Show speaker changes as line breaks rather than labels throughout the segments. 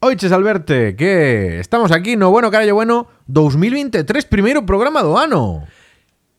Oiches Alberte, que estamos aquí no bueno carallo bueno 2023, primeiro programa do ano.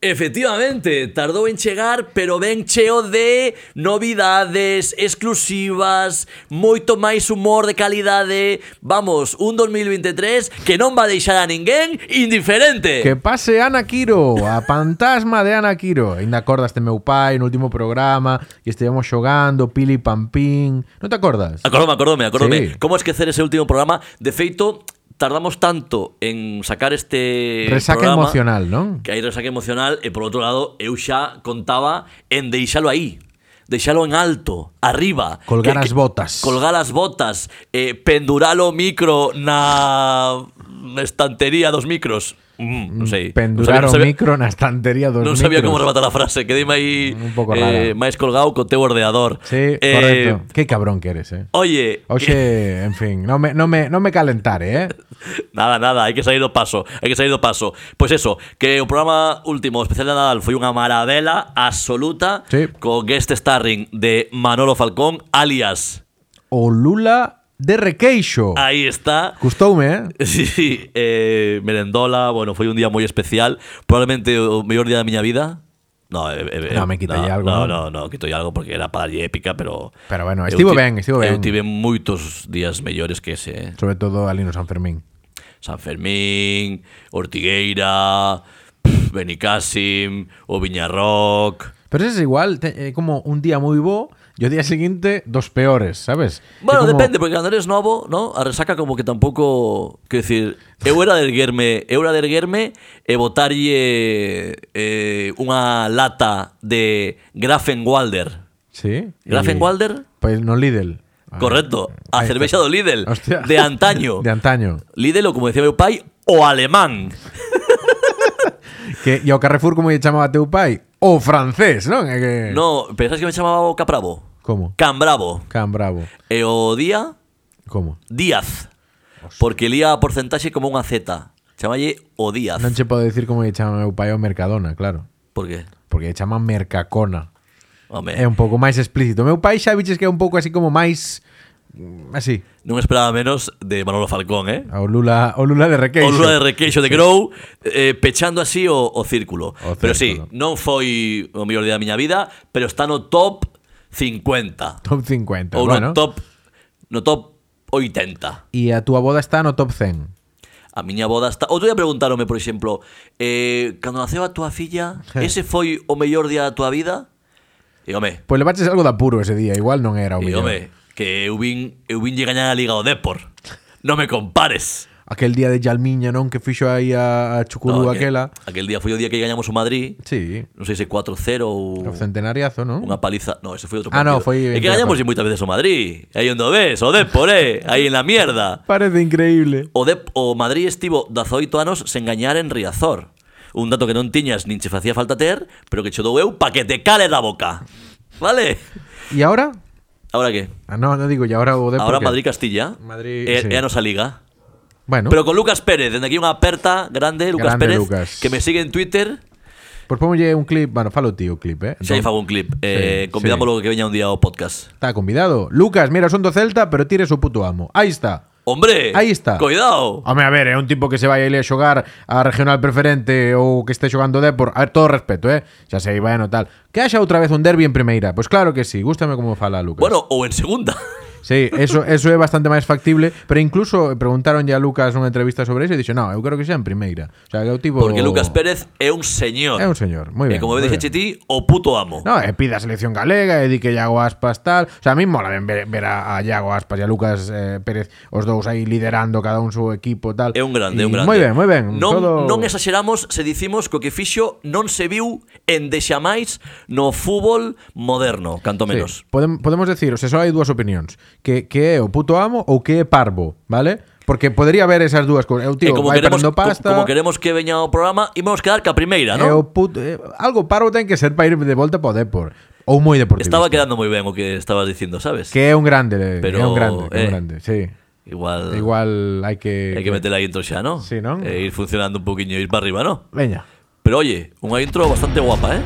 Efectivamente, tardou en chegar, pero ben cheo de novidades exclusivas, moito máis humor de calidade. Vamos, un 2023 que non va deixar a ninguén indiferente.
Que pase Ana Quiro, a fantasma de Ana Quiro. Ainda acordas de meu pai no último programa que estivemos xogando Pili Pampín. Non te acordas?
Acordome, acordome, acordome.
Sí.
Como esquecer ese último programa? De feito, tardamos tanto en sacar este
Resaca
programa,
emocional, non?
Que hai resaca emocional e por outro lado eu xa contaba en deixalo aí. Deixalo en alto, arriba.
Colgar
Que-
as botas.
Colgar as botas, eh, pendurar o micro na estantería dos micros. Mm, non sei.
Pendurar o
non sabía, non sabía-
micro na estantería dos
Non sabía
micros.
como rematar a frase, quedeime aí
Un pouco
eh,
rara.
máis colgado co teu ordenador.
Sí,
Eh,
correcto. Que cabrón que eres, eh.
Oye,
Oxe, en fin, non me, non me, non me calentare, eh.
Nada, nada, hai que sair do paso, hai que sair do paso. Pois eso, que o programa último o especial de Nadal foi unha maravela absoluta
Sí.
co guest starring de Manolo Falcón, alias.
O Lula de Requeixo.
Aí está.
Gustoume, eh.
Sí, sí, eh, merendola, bueno, foi un día moi especial, probablemente o mellor día da miña vida. No, eh, eh,
No, me quitalle algo,
No, no,
¿no?
no, quitolle algo porque era para allí épica, pero
Pero bueno,
eu
estivo
ti-
ben, estivo ben.
Eu tive moitos días mellores que ese, eh.
Sobre todo Alino San Fermín.
San Fermín, Ortigueira, pf, Benicassim, o Viñarroc.
Pero ese es igual, te- eh, como un día muy bo y al día siguiente dos peores, ¿sabes? É
Bueno,
como-
depende, porque cando eres novo, ¿no? a resaca como que tampouco... Quero dicir, eu era de erguerme, eu era de erguerme e botarlle eh, unha lata de Grafenwalder.
Sí.
Grafenwalder?
Pues no Lidl. Ah,
Correcto, a
ahí está.
cervexa do Lidl,
Hostia.
de antaño.
De antaño.
Lidl, ou como decía meu pai, o alemán.
Que, e ao Carrefour como lle chamaba teu pai? O francés, non? É que...
No, pensás que me chamaba o Capravo?
Como?
Cambravo.
Can Bravo.
E o día...
Como?
Díaz. Porque lía a porcentaxe como unha Z. Chamalle o Díaz.
Non che podo decir como lle chama meu pai ao Mercadona, claro.
Por que?
Porque lle chama Mercacona.
Home,
É un pouco máis explícito. Meu pai xa viches que é un pouco así como máis... mm, Así.
non esperaba menos de Manolo Falcón, eh?
O Lula, o Lula de Requeixo.
O Lula de Requeixo de Grou eh, pechando así o, o círculo.
O
Pero sí,
círculo.
non foi o mellor día da miña vida, pero está no top 50.
Top 50.
Ou
bueno.
no top no top 80.
E a túa boda está no top 100.
A miña boda está... Outro día preguntaronme, por exemplo, eh, cando naceu a tua filla,
Sí.
ese foi o mellor día da tua vida? E, home,
Pois levaches Pues algo de apuro ese día, igual non era o
E,
mellor.
home, que eu vin, eu vin lle gañar a Liga ao Depor. Non me compares.
Aquel día de Yalmiña, non? Que fixo aí a, a Chucurú
No, aquel-
aquela.
Aquel día foi o día que gañamos o Madrid.
Sí,
Non sei se 4-0 ou
o centenariazo, non?
unha paliza. No, ese foi outro
Ah,
partido.
no, foi
É
en
que gañamos moitas veces o Madrid. Aí onde o ves, o Depor, eh. Aí en la mierda.
Parece increíble.
O, Dep o Madrid estivo 18 anos sen gañar en Riazor. Un dato que non tiñas nin che facía falta ter, pero que che dou eu pa que te cale da boca. Vale?
E agora?
Ahora que?
Ah, no, non digo, e agora o de
Ahora
porque-
Madrid-Castilla. Eh,
Madrid,
é,
sí.
é a nosa liga.
Bueno,
Pero con Lucas Pérez, dende aquí unha aperta grande, Lucas
Grande,
Pérez,
Lucas.
que me sigue en Twitter,
pois pómolle pues un clip, bueno, falo ti o clip, eh.
xa lle
Entón,
fago un clip.
sí.
Eh, convidámoslo que veña un día ao podcast.
Está convidado. Lucas, mira, son do Celta, pero tires o puto amo. Aí está.
Hombre,
Aí está.
Cuidado.
Home, a ver, é un tipo que se vai ali a xogar a regional preferente ou que este xogando Depor, a ver, todo respeto, eh? Xa sei, bueno, tal. Que haxa outra vez un derbi en primeira. Pois claro que sí, gústame como fala Lucas.
Bueno, ou en segunda.
Sí, eso, eso é bastante máis factible, pero incluso preguntaronlle a Lucas nunha entrevista sobre iso e dixo, "No, eu creo que xa en primeira." O sea, que é o tipo
Porque Lucas Pérez é un señor.
é Pues un señor, moi ben.
E como
moi
ben
ben.
dixe ti, o puto amo.
No, e pida a selección galega, e di que Iago Aspas tal. O sea, a mí mola ben ver, ver a, a Iago Aspas e a Lucas eh, Pérez os dous aí liderando cada un seu equipo tal.
É un grande,
E
é un grande.
Moi ben, moi ben.
Non,
todo...
non exageramos se dicimos que o que fixo non se viu en dexamais no fútbol moderno, canto menos.
Sí, podem- podemos decir, o sea, só hai dúas opinións, que, que é o puto amo ou que é parvo, vale? Porque podría haber esas dúas cousas. É o
E
tío
como
vai
queremos,
perdendo pasta.
co- como queremos que veña o programa, imos quedar ca primeira,
é
non?
o puto, é, algo parvo ten que ser para ir de volta para o Depor ou moi deportivo.
Estaba quedando moi ben o que estabas dicindo, sabes?
que é un grande,
Pero,
pero, é un grande, que é
eh,
un grande, sí.
Igual,
Igual hai que
hai que meter a intro xa, ¿no?
Sí, non?
E ir funcionando un poquinho, ir para arriba, ¿no?
Veña.
Pero oye, unha intro bastante guapa, ¿eh?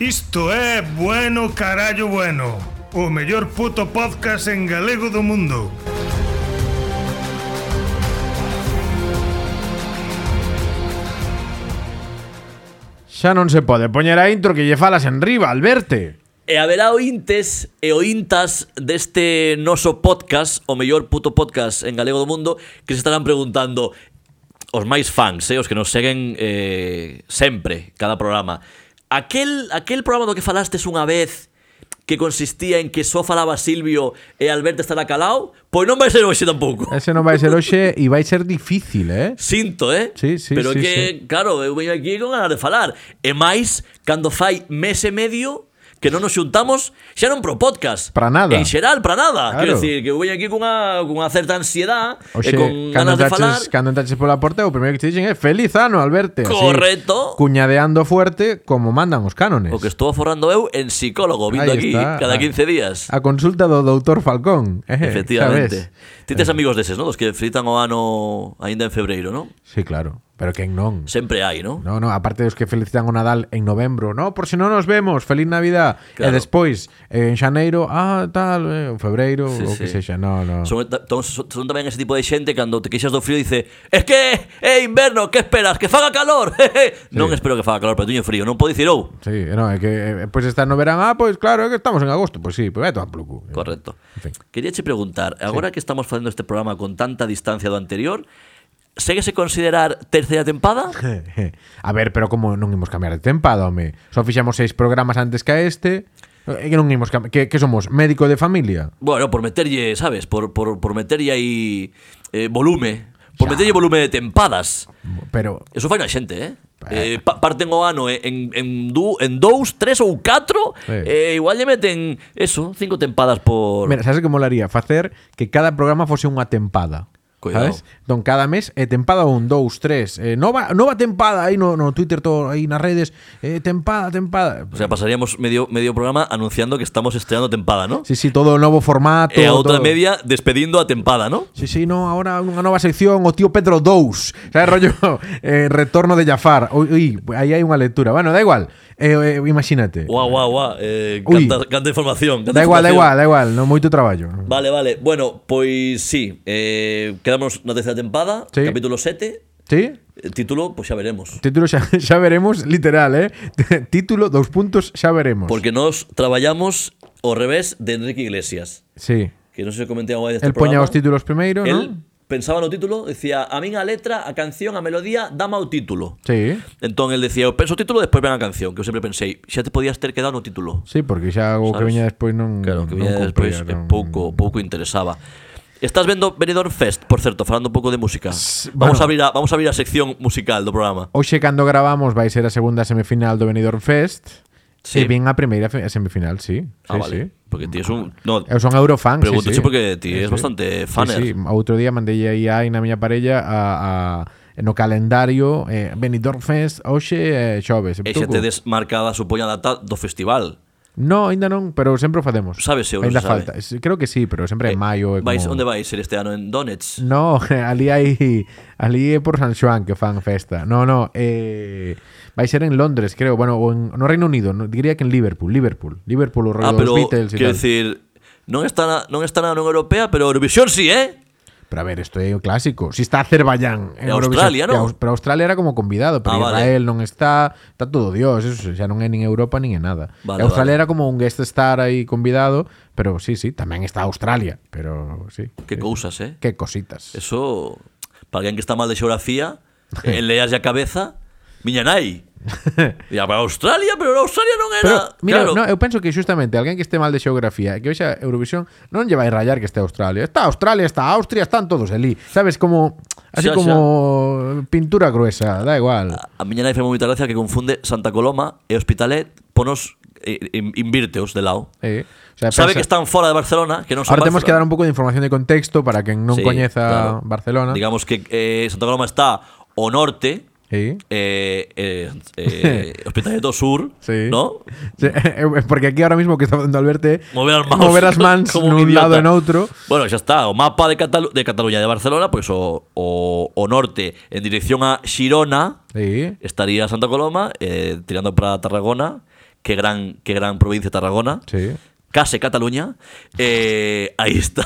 Isto é Bueno Carallo Bueno O mellor puto podcast en galego do mundo
Xa non se pode poñer a intro que lle falas en riba al verte.
E haberá ointes e ointas deste noso podcast, o mellor puto podcast en galego do mundo, que se estarán preguntando os máis fans, eh, os que nos seguen eh, sempre, cada programa. Aquel, aquel programa do que falastes unha vez que consistía en que só falaba Silvio e Alberto estará calado, pois non vai ser hoxe tampouco.
Ese non vai ser hoxe e vai ser difícil, eh?
Sinto, eh?
Sí, sí,
Pero é
sí,
que, claro, eu veño aquí con ganas de falar. E máis, cando fai mes e medio que non nos xuntamos, xa non pro podcast.
Pra nada.
En xeral, para nada.
Claro.
Quero dicir, que eu veño aquí cunha, cunha certa ansiedad e
Oxe,
con
cando
ganas de falar.
entraches, cando entraches pola porta, o primeiro que te dixen é feliz ano al verte. así,
Correcto.
cuñadeando fuerte como mandan os cánones.
O que estou aforrando eu en psicólogo, vindo
Aí
aquí
está.
cada
Ah.
15 días.
A consulta do doutor Falcón. eh,
Efectivamente.
sabes?
Ti tes amigos deses, non? Dos que fritan o ano aínda en febreiro, non?
Sí, claro. Pero quen non?
Sempre hai, non?
No, no, aparte dos que felicitan o Nadal en novembro, no, por si non nos vemos, feliz Navidad.
Claro.
E despois, eh, en xaneiro, ah, tal, eh, en febreiro,
Sí,
ou que
sí.
sexa, no, no.
Son, ta- ton- son, son tamén ese tipo de xente cando te queixas do frío dice Es que é inverno, que esperas? Que faga calor Non espero que faga calor, pero teño frío Non podo dicir "Oh". ou
Sí, no, é que eh, pois está no verán, ah, pois claro, é que estamos en agosto, pois sí, pois vai tomar polo cu.
Correcto
En fin.
Quería che preguntar Agora que estamos facendo este programa con tanta distancia do anterior Seguese considerar terceira tempada?
A ver, pero como non imos cambiar de tempada, home. Só fixamos seis programas antes que a este. E que non imos cam- que, que somos médico de familia.
Bueno, por meterlle, sabes, por, por, por meterlle aí eh, volume Por meterlle volume de tempadas
Pero
Eso fai na xente, eh? eh pa parten o ano eh, en, en, du, en dous, tres ou catro
Sí.
eh, Igual lle meten, eso, cinco tempadas por...
Mira, sabes que molaría facer que cada programa fose unha tempada.
Cuidado.
Sabes? Don cada mes é tempada un, dous, tres, eh, nova nova tempada aí no, no Twitter todo aí nas redes, eh, tempada, tempada.
O sea, pasaríamos medio, medio programa anunciando que estamos estrenando tempada, ¿no?
Sí, sí, todo novo formato,
e a outra
todo.
media despedindo a tempada, ¿no?
Sí, sí, no, ahora unha nova sección o tío Pedro Dous. Sabes, rollo eh, retorno de Jafar. Ui, ui, aí hai unha lectura. Bueno, da igual. Eh, eh, imagínate.
Guau, guau, guau. Eh,
Uy.
canta, canta información. canta
Da igual, da
información.
igual, da igual, non moito traballo.
Vale, vale. Bueno, pois sí, eh, quedamos na terceira tempada,
Sí.
capítulo 7.
Sí?
Título, pois xa veremos.
Título xa, xa veremos, literal, eh? Título, dous puntos, xa veremos.
Porque nos traballamos ao revés de Enrique Iglesias.
Sí.
Que non sei se comenté algo deste
El poña
programa.
os títulos primeiro,
Él
¿no?
pensaba no título, decía, a min a letra, a canción, a melodía, dama o título.
Sí.
Entón el decía, eu penso o título, despois ven a canción, que eu sempre pensei, xa te podías ter quedado no título.
Sí, porque xa o que
Sabes?
veña despois non
Claro, que
non
viña despois
cumpría,
é
non-
pouco, pouco interesaba. Estás vendo Benidorm Fest, por certo, falando un pouco de música. Vamos
bueno.
a abrir a, vamos a abrir a sección musical do programa.
Hoxe cando gravamos vai ser a segunda semifinal do Benidorm Fest.
Sí.
Sí. E vin a primeira fe- semifinal, sí. sí
ah, vale.
sí.
Porque ti es un no,
Eu Eh, son eurofan,
pregunto
sí, sí.
porque ti es bastante faner.
Sí, sí. Outro día mandei aí a na miña parella a, a no calendario eh, Benidorm Fest hoxe eh, xoves.
E xa
Tucu.
tedes marcada a supoña data do festival.
No, ainda non, pero sempre o facemos.
Sabes, eu non
Ainda
se sabe.
falta.
Eh,
Sí, Creo que sí, pero sempre en maio. é
vais
como...
onde vais ser este ano en Donetsk?
No, ali hai ali é por San Xoán que fan festa. No, no, eh, vai ser en Londres, creo, bueno, o en no Reino Unido, no, diría que en Liverpool, Liverpool, Liverpool o rollo
ah,
dos
pero
Beatles e
quero
tal.
decir, non está na, non está na Unión Europea, pero Eurovisión sí, eh?
Pero a ver, isto é o clásico. Si está Azerbaiyán
E
en Eurovisión-
Australia, non?
e Aus- Pero Australia era como convidado, pero
Ah, vale.
Israel non está, está todo Dios, eso xa non é nin Europa nin é nada. E
Vale,
Australia era
vale.
como un guest star aí convidado, pero sí, sí, tamén está Australia, pero sí.
Que cousas, eh?
Que cositas.
Eso, para alguén que está mal de xeografía, eh, leas a cabeza, miña nai. Día para Australia, pero Australia non era...
Pero, mira,
claro,
no, eu penso que justamente alguén que este mal de xeografía e que vexa Eurovisión non lle vai rayar que este Australia. Está Australia, está Austria, están todos ali. Sabes, como... Así
Xa, xa.
como pintura gruesa, da igual.
a, a miña nai fai moita gracia que confunde Santa Coloma e Hospitalet, ponos eh, in- invírteos de lado.
Eh, o sea, pensa-
Sabe que están fora de Barcelona, que non son
Ahora temos que dar
Barcelona.
un pouco de información de contexto para quen non
Sí,
coñeza
claro.
Barcelona.
Digamos que eh, Santa Coloma está o norte,
Sí.
eh, eh, eh, Hospitalet do Sur,
Sí.
¿no?
Sí, eh, Porque aquí ahora mismo o que está facendo Alberto é
Mover as mans.
mover as mans
Como
nun
un idiota.
lado e noutro.
Bueno, xa está, o mapa de, Catalu de Cataluña e de Barcelona, pois o, o, o norte en dirección a Xirona
Sí.
estaría Santa Coloma, eh, tirando para Tarragona, que gran, que gran provincia de Tarragona.
Sí.
Case Cataluña. Eh, aí está,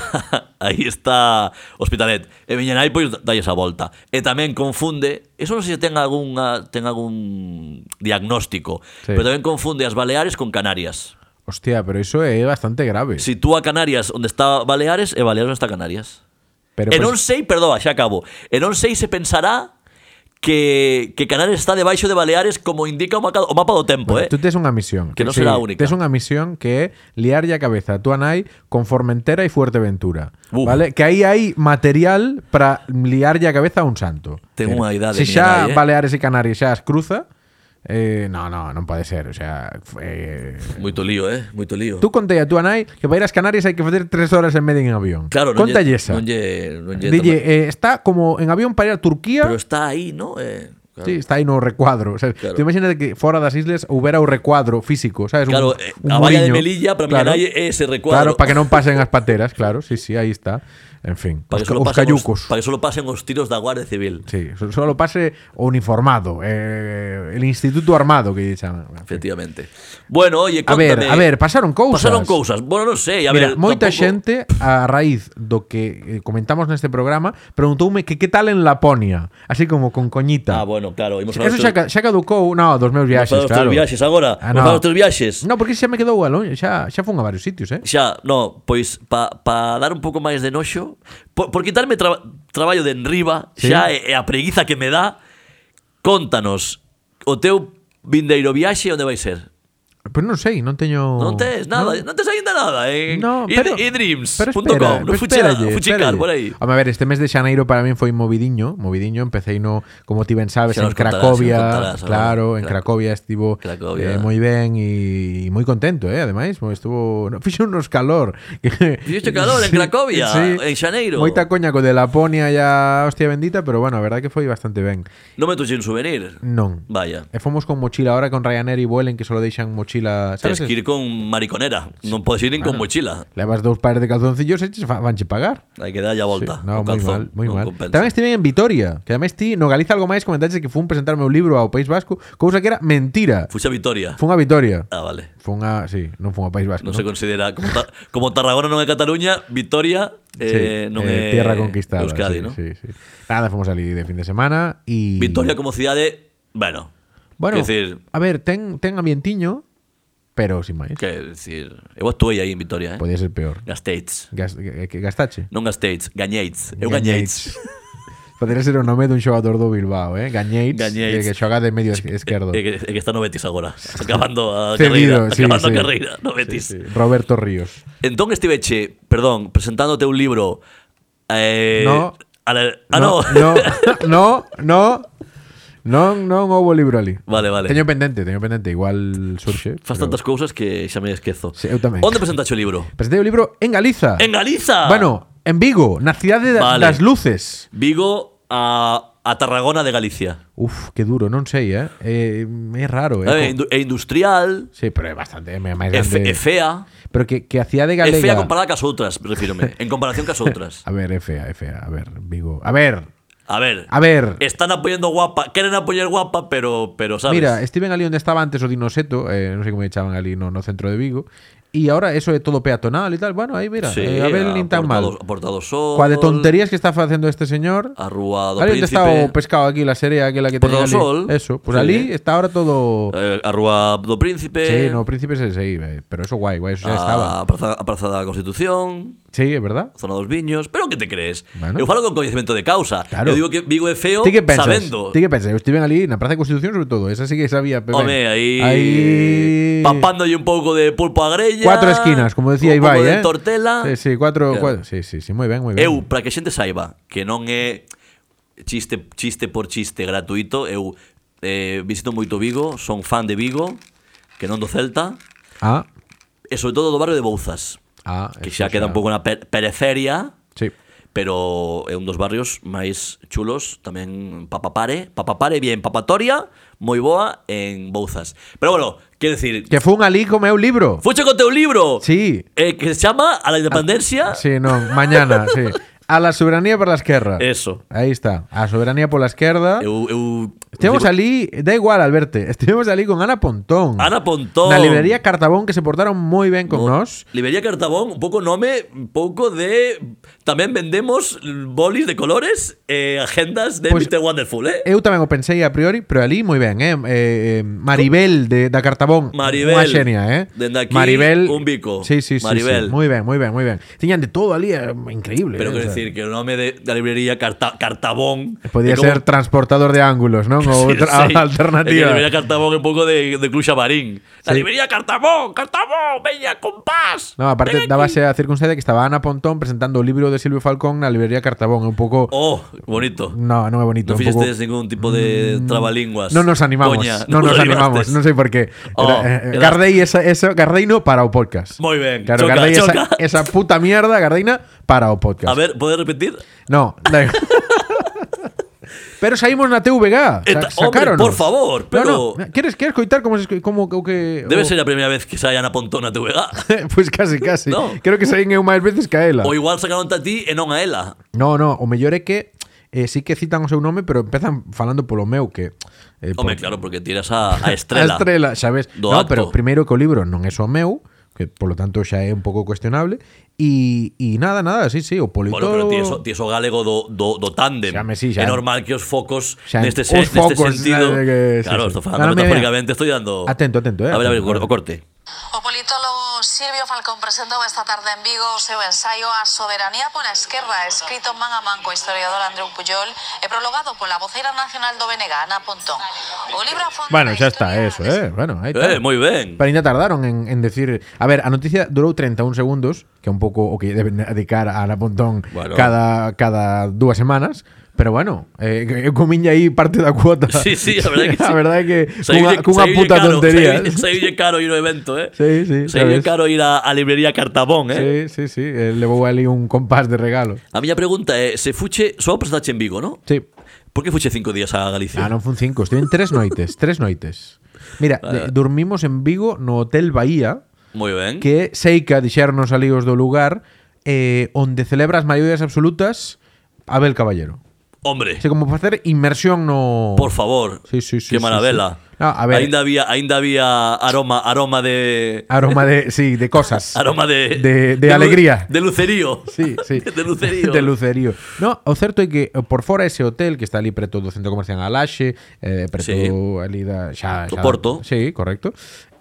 aí está Hospitalet. E viñan aí pois dalle esa volta. E tamén confunde, eso non sei se ten algunha ten algún diagnóstico,
Sí.
pero tamén confunde as Baleares con Canarias.
Hostia, pero eso es bastante grave.
Sitúa Canarias onde está Baleares e Baleares onde está Canarias.
Pero
e
pues-
non sei, perdoa, xa acabo. E non sei se pensará que, que Canarias está debaixo de Baleares como indica o mapa, o mapa do tempo,
Bueno,
eh?
Tú tienes una misión.
Que no será única.
Tienes una misión que es liar ya cabeza a tu Anay con Formentera y Fuerteventura.
Uf.
¿Vale? Que ahí hay material para liar ya cabeza a un santo.
Tengo una idea de
Si
mi
ya
Anai, eh.
Baleares y Canarias ya as cruza, eh, no, no, no puede ser. O sea, eh,
Moito lío, eh? Moito lío.
tú conté a tu Anay que para ir a las Canarias hay que hacer tres horas en medio en avión.
Claro, non
Conta
lle,
esa.
non lle, non lle
Dille, eh, está como en avión para ir a Turquía.
Pero está aí, ¿no? Eh, claro.
Sí, está aí no recuadro. O sea,
Claro.
Tú imagínate que fora das islas houbera o recuadro físico, sabes?
Claro,
un,
eh,
un
a Baía de
muriño.
Melilla, para miña nai, é ese
Claro,
recuadro.
para que non pasen as pateras, claro. Sí, sí, aí está. En fin, os,
para que solo
os
pasen
cayucos.
Os, para que solo pasen os tiros da Guardia Civil.
Sí, so- solo pase o uniformado, eh, el instituto armado que lle chaman.
Efectivamente. Bueno, oye,
A ver,
contame.
a ver, pasaron cousas.
Pasaron cousas. Bueno, non sei, a
Mira,
ver,
moita
tampouco-
xente a raíz do que eh, comentamos neste programa preguntoume que que tal en Laponia, así como con coñita.
Ah, bueno, claro, imos
Eso xa, ca- xa caducou, no, dos meus viaxes,
Para os
claro.
teus viaxes agora,
Ah,
ah, no. para os teus viaxes.
No, porque xa me quedou a longe, xa, xa fun a varios sitios, eh?
Xa, no, pois pa, pa dar un pouco máis de noxo, por, por quitarme tra, traballo de enriba,
Sí.
xa e, e a preguiza que me dá, contanos o teu vindeiro viaxe onde vai ser?
Pero non sei, non teño...
Non tes nada, non, tes aínda nada eh. en
Oh, No,
i-
pero,
idreams.com,
pero espera,
no
pero
fuchar,
espéralle,
fuchicar
espéralle.
por aí.
Home, a ver, este mes de xaneiro para min foi movidiño Movidiño, empecé no, como ti ben sabes, en
Xa nos contarás, xa nos
Cracovia
contarás,
Claro, en
Crac-
Cracovia estivo eh,
Cracovia.
moi ben E moi contento, eh, ademais mo- Estuvo, no, fixo unos calor
Fixo calor en
Sí,
Cracovia, en xaneiro.
Moita coña co de Laponia ya hostia bendita Pero bueno, a verdad que foi bastante ben
Non me tuxen souvenir.
Non,
Vaya.
E fomos con mochila ahora con Ryanair y Vuelen que solo deixan mochila, sabes?
Tens que ir con mariconera, non podes ir nin con mochila.
Levas dous pares de calzoncillos e che fa- vanche pagar.
Hai que darlle
Sí,
a volta.
no,
o
moi
calzón,
mal, moi
non
mal.
compensa.
Tamén estive en Vitoria, que ademais ti no Galiza algo máis comentaxe que fun presentarme un libro ao País Vasco, cousa que era mentira.
Fuxe a Vitoria.
Fun a Vitoria.
Ah, vale.
Fun a, sí, non fun ao País Vasco.
Non
non?
se considera como, Tar- como Tarragona non é Cataluña, Vitoria eh, non é
tierra conquistada.
Euskadi,
sí,
non?
sí, sí. Nada, fomos ali de fin de semana y
Vitoria como cidade, bueno,
Bueno,
quer decir-
a ver, ten ten ambientiño, pero sin máis.
que decir, eu actuei aí en Vitoria, eh?
Podía ser peor.
Gasteitz.
Gas, que- que- gastache.
Non Gasteitz, Gañeitz. Eu Gañeitz.
Podería ser o nome dun xogador do Bilbao, eh? Gañeitz, eh,
Gañeitz.
que xoga de medio esquerdo.
E que, e que está no Betis agora, acabando a
Cedido,
carreira,
sí,
acabando
sí.
a carreira no Betis.
Sí, sí. Roberto Ríos.
Entón estiveche, perdón, presentándote un libro eh,
No.
a la- ah, no.
no, no, no, no, non houbo libro ali.
Vale, vale.
Teño pendente, teño pendente, igual surxe.
Faz
pero-
tantas cousas que xa me esquezo.
Sí, eu tamén.
Onde presentaste o libro?
Presentei o libro en Galiza.
En Galiza.
Bueno, en Vigo, na cidade da-
Vale.
das luces.
Vigo a, a Tarragona de Galicia.
Uf, que duro, non sei, eh? É, é raro, eh?
É, indu- é industrial,
Sí, pero é bastante, é máis
é, fe-
grande.
é fea,
Pero que, que a cidade
é
galega...
fea comparada cas outras, refírome, en comparación cas outras.
A ver, é fea, é fea, a ver, Vigo. A ver,
A ver,
a ver.
están apoyando guapa, queren apoyar guapa, pero, pero Eh, sabes.
Mira, estiven ali onde estaba antes o Dinoseto, eh, non sei como echaban ali no, no centro de Vigo, e agora eso é todo peatonal e tal. Bueno, aí mira,
Sí,
eh, a ver nin tan mal.
Portado- Portado Sol,
Coa de tonterías que está facendo este señor.
a Rúa do
ali onde está o
Príncipe,
pescado aquí, la serea, aquela que tenía
Porta do
ali.
Sol.
Eso, pues
Sí.
ali está ahora todo...
eh, a Rúa do Príncipe,
Sí, no, Príncipe 66, eh, pero eso guai, guai, eso
Ah.
xa estaba.
a, Praza, a Praza da Constitución,
Sí, é verdad.
Zona dos Viños, pero que te crees?
Bueno.
Eu falo con coñecemento de causa.
Claro.
Eu digo que Vigo é feo
Ti que pensas?
sabendo.
Ti que pensas? Eu estiven ali na Praza de Constitución sobre todo, esa sí que sabía. pero
Home,
ben.
aí,
Aí-
papándolle un pouco de pulpo a grella.
Cuatro esquinas, como decía
un
Ibai,
pouco de
eh.
tortela.
Sí, sí, cuatro,
Claro.
cuatro- Sí, sí, sí, moi ben, moi ben.
Eu, para que a xente saiba que non é chiste chiste por chiste gratuito, eu eh, visito moito Vigo, son fan de Vigo, que non do Celta,
Ah,
e sobre todo do barrio de Bouzas,
ah,
que
eso
xa queda un pouco na per periferia,
Sí.
pero é un dos barrios máis chulos tamén Papapare, Papapare bien, Papatoria, moi boa en Bouzas. Pero bueno, quero decir,
Que fun ali co meu libro.
fuche con teu libro.
Sí. Ah,
Eh, que se chama A la independencia.
Sí, non, mañana, sí. A la soberanía para la esquerda.
Eso.
Aí está. A soberanía pola esquerda.
Eu, eu
Estivemos
digo,
ali, da igual, Alberto. Estivemos ali con Ana Pontón.
Ana Pontón.
Na librería Cartabón que se portaron moi ben con
Mo-
nós.
Librería Cartabón, un pouco nome, un pouco de... Tamén vendemos bolis de colores e agendas de
Pois-
Mr. Wonderful, eh?
Eu tamén o pensei a priori, pero ali moi ben, eh? eh eh, Maribel de, da Cartabón,
Maribel.
unha xenia, eh?
Dende aquí, un bico.
Sí, sí, sí, sí.
Maribel.
Moi ben, moi ben, moi ben. Tiñan de todo ali, eh, increíble.
Pero
eh, o
quero
sea.
decir que o nome de, da librería Carta, Cartabón...
Podía
é como-
ser transportador de ángulos, non? Ou
Sí,
outra
sí. É que
alternativa.
a librería Cartabón é un pouco de, de Cluxa Marín. La
Sí.
librería Cartabón, Cartabón, veña, compás.
No, aparte
ven aquí.
dábase a circunstancia que estaba Ana Pontón presentando o libro de Silvio Falcón na librería Cartabón, é un pouco
Oh, bonito.
No, non é bonito,
No
Mm, un pouco
fixestes ningún tipo de trabalinguas.
No nos animamos,
Coña,
no nos animamos,
librastes.
non sei por qué.
Oh,
Era- eh,
era-
Gardei esa, eso, Gardei no para o podcast.
Moi ben,
Claro,
choca,
Gardei
choca.
Esa, esa puta mierda, Gardeina, para o podcast.
A ver, podes repetir?
No, da igual. Pero saímos na TVG,
Eta-
sa- sacáronos.
hombre, por favor, pero-
No, no, queres, queres coitar como, se esco- como, como que...
Debe
o-
ser a primeira vez que saia na pontona te vega.
pois casi, casi.
No.
Creo que saín eu máis veces que a ela.
Ou igual sacaron a ti e non a ela.
No, no, o mellor é que eh, sí que citan o seu nome, pero empezan falando polo meu que... Eh,
Home,
por-
claro, porque tiras a, a
A
estrela.
estrela, xa ves.
Do
no,
acto.
pero primeiro que o libro non é só meu, que polo tanto xa é un pouco cuestionable, e, e nada, nada, sí, sí, o
Bueno,
politólogo...
pero ti eso, ti eso galego do, do, do tándem.
Xa me sí, xa.
É normal que os focos
Xa,
neste,
os
se, neste
focos,
sentido...
nada que- sí,
claro,
sí.
estou falando
Dame, mira.
metafóricamente, estou dando...
Atento, atento, eh,
A ver, a ver,
atento.
o corte.
O politólogo Silvio Falcón presentou esta tarde en Vigo o seu ensaio A soberanía pola esquerda, escrito man a man co historiador Andreu Puyol e prologado pola voceira nacional do BNG, Ana Pontón. O libro afronta
Bueno,
a
xa está,
historia
eso, eh.
de-
Bueno, aí
Eh,
está.
moi ben.
Pero ainda tardaron en, en decir... A ver, a noticia durou 31 segundos, que é un pouco o que deben dedicar a Ana Pontón
Bueno.
cada, cada dúas semanas, pero bueno, eh, eu comiña aí parte da cuota.
Sí, sí, a verdade que sí.
A verdade que cunha,
Saíulle-
cunha
saíulle
puta
caro,
tontería. ¿eh?
saíulle- Saíulle caro ir ao evento, eh?
Sí, sí, sabes.
Saíulle caro ir a, a librería Cartabón, eh?
Sí, sí, sí, eh, levou ali un compás de regalo.
A miña pregunta é, se fuche, só presentache en Vigo, ¿no?
Sí.
Por que fuche cinco días a
Ah,
Galicia?
non fun cinco, estuve en tres noites, tres noites. Mira, eh, dormimos en Vigo no Hotel Bahía,
Moi ben.
que Seica dixernos ali os do lugar eh, onde celebra as maiorías absolutas Abel Caballero.
Hombre,
Así como facer inmersión no...
por favor.
Sí, sí, sí,
que
sí,
maravela.
sí. No, a ver.
Ainda había, ainda había aroma, aroma de
Aroma de... Sí, de cosas.
aroma de
De- de
lu-
alegría.
de lucerío.
Sí, sí.
De lucerío.
De lucerío. No, o certo é que eh, por fora ese hotel que está ali preto do centro comercial Alaxe, eh, preto
Sí.
ali da xa,
Do
xa-
Porto.
Sí, correcto.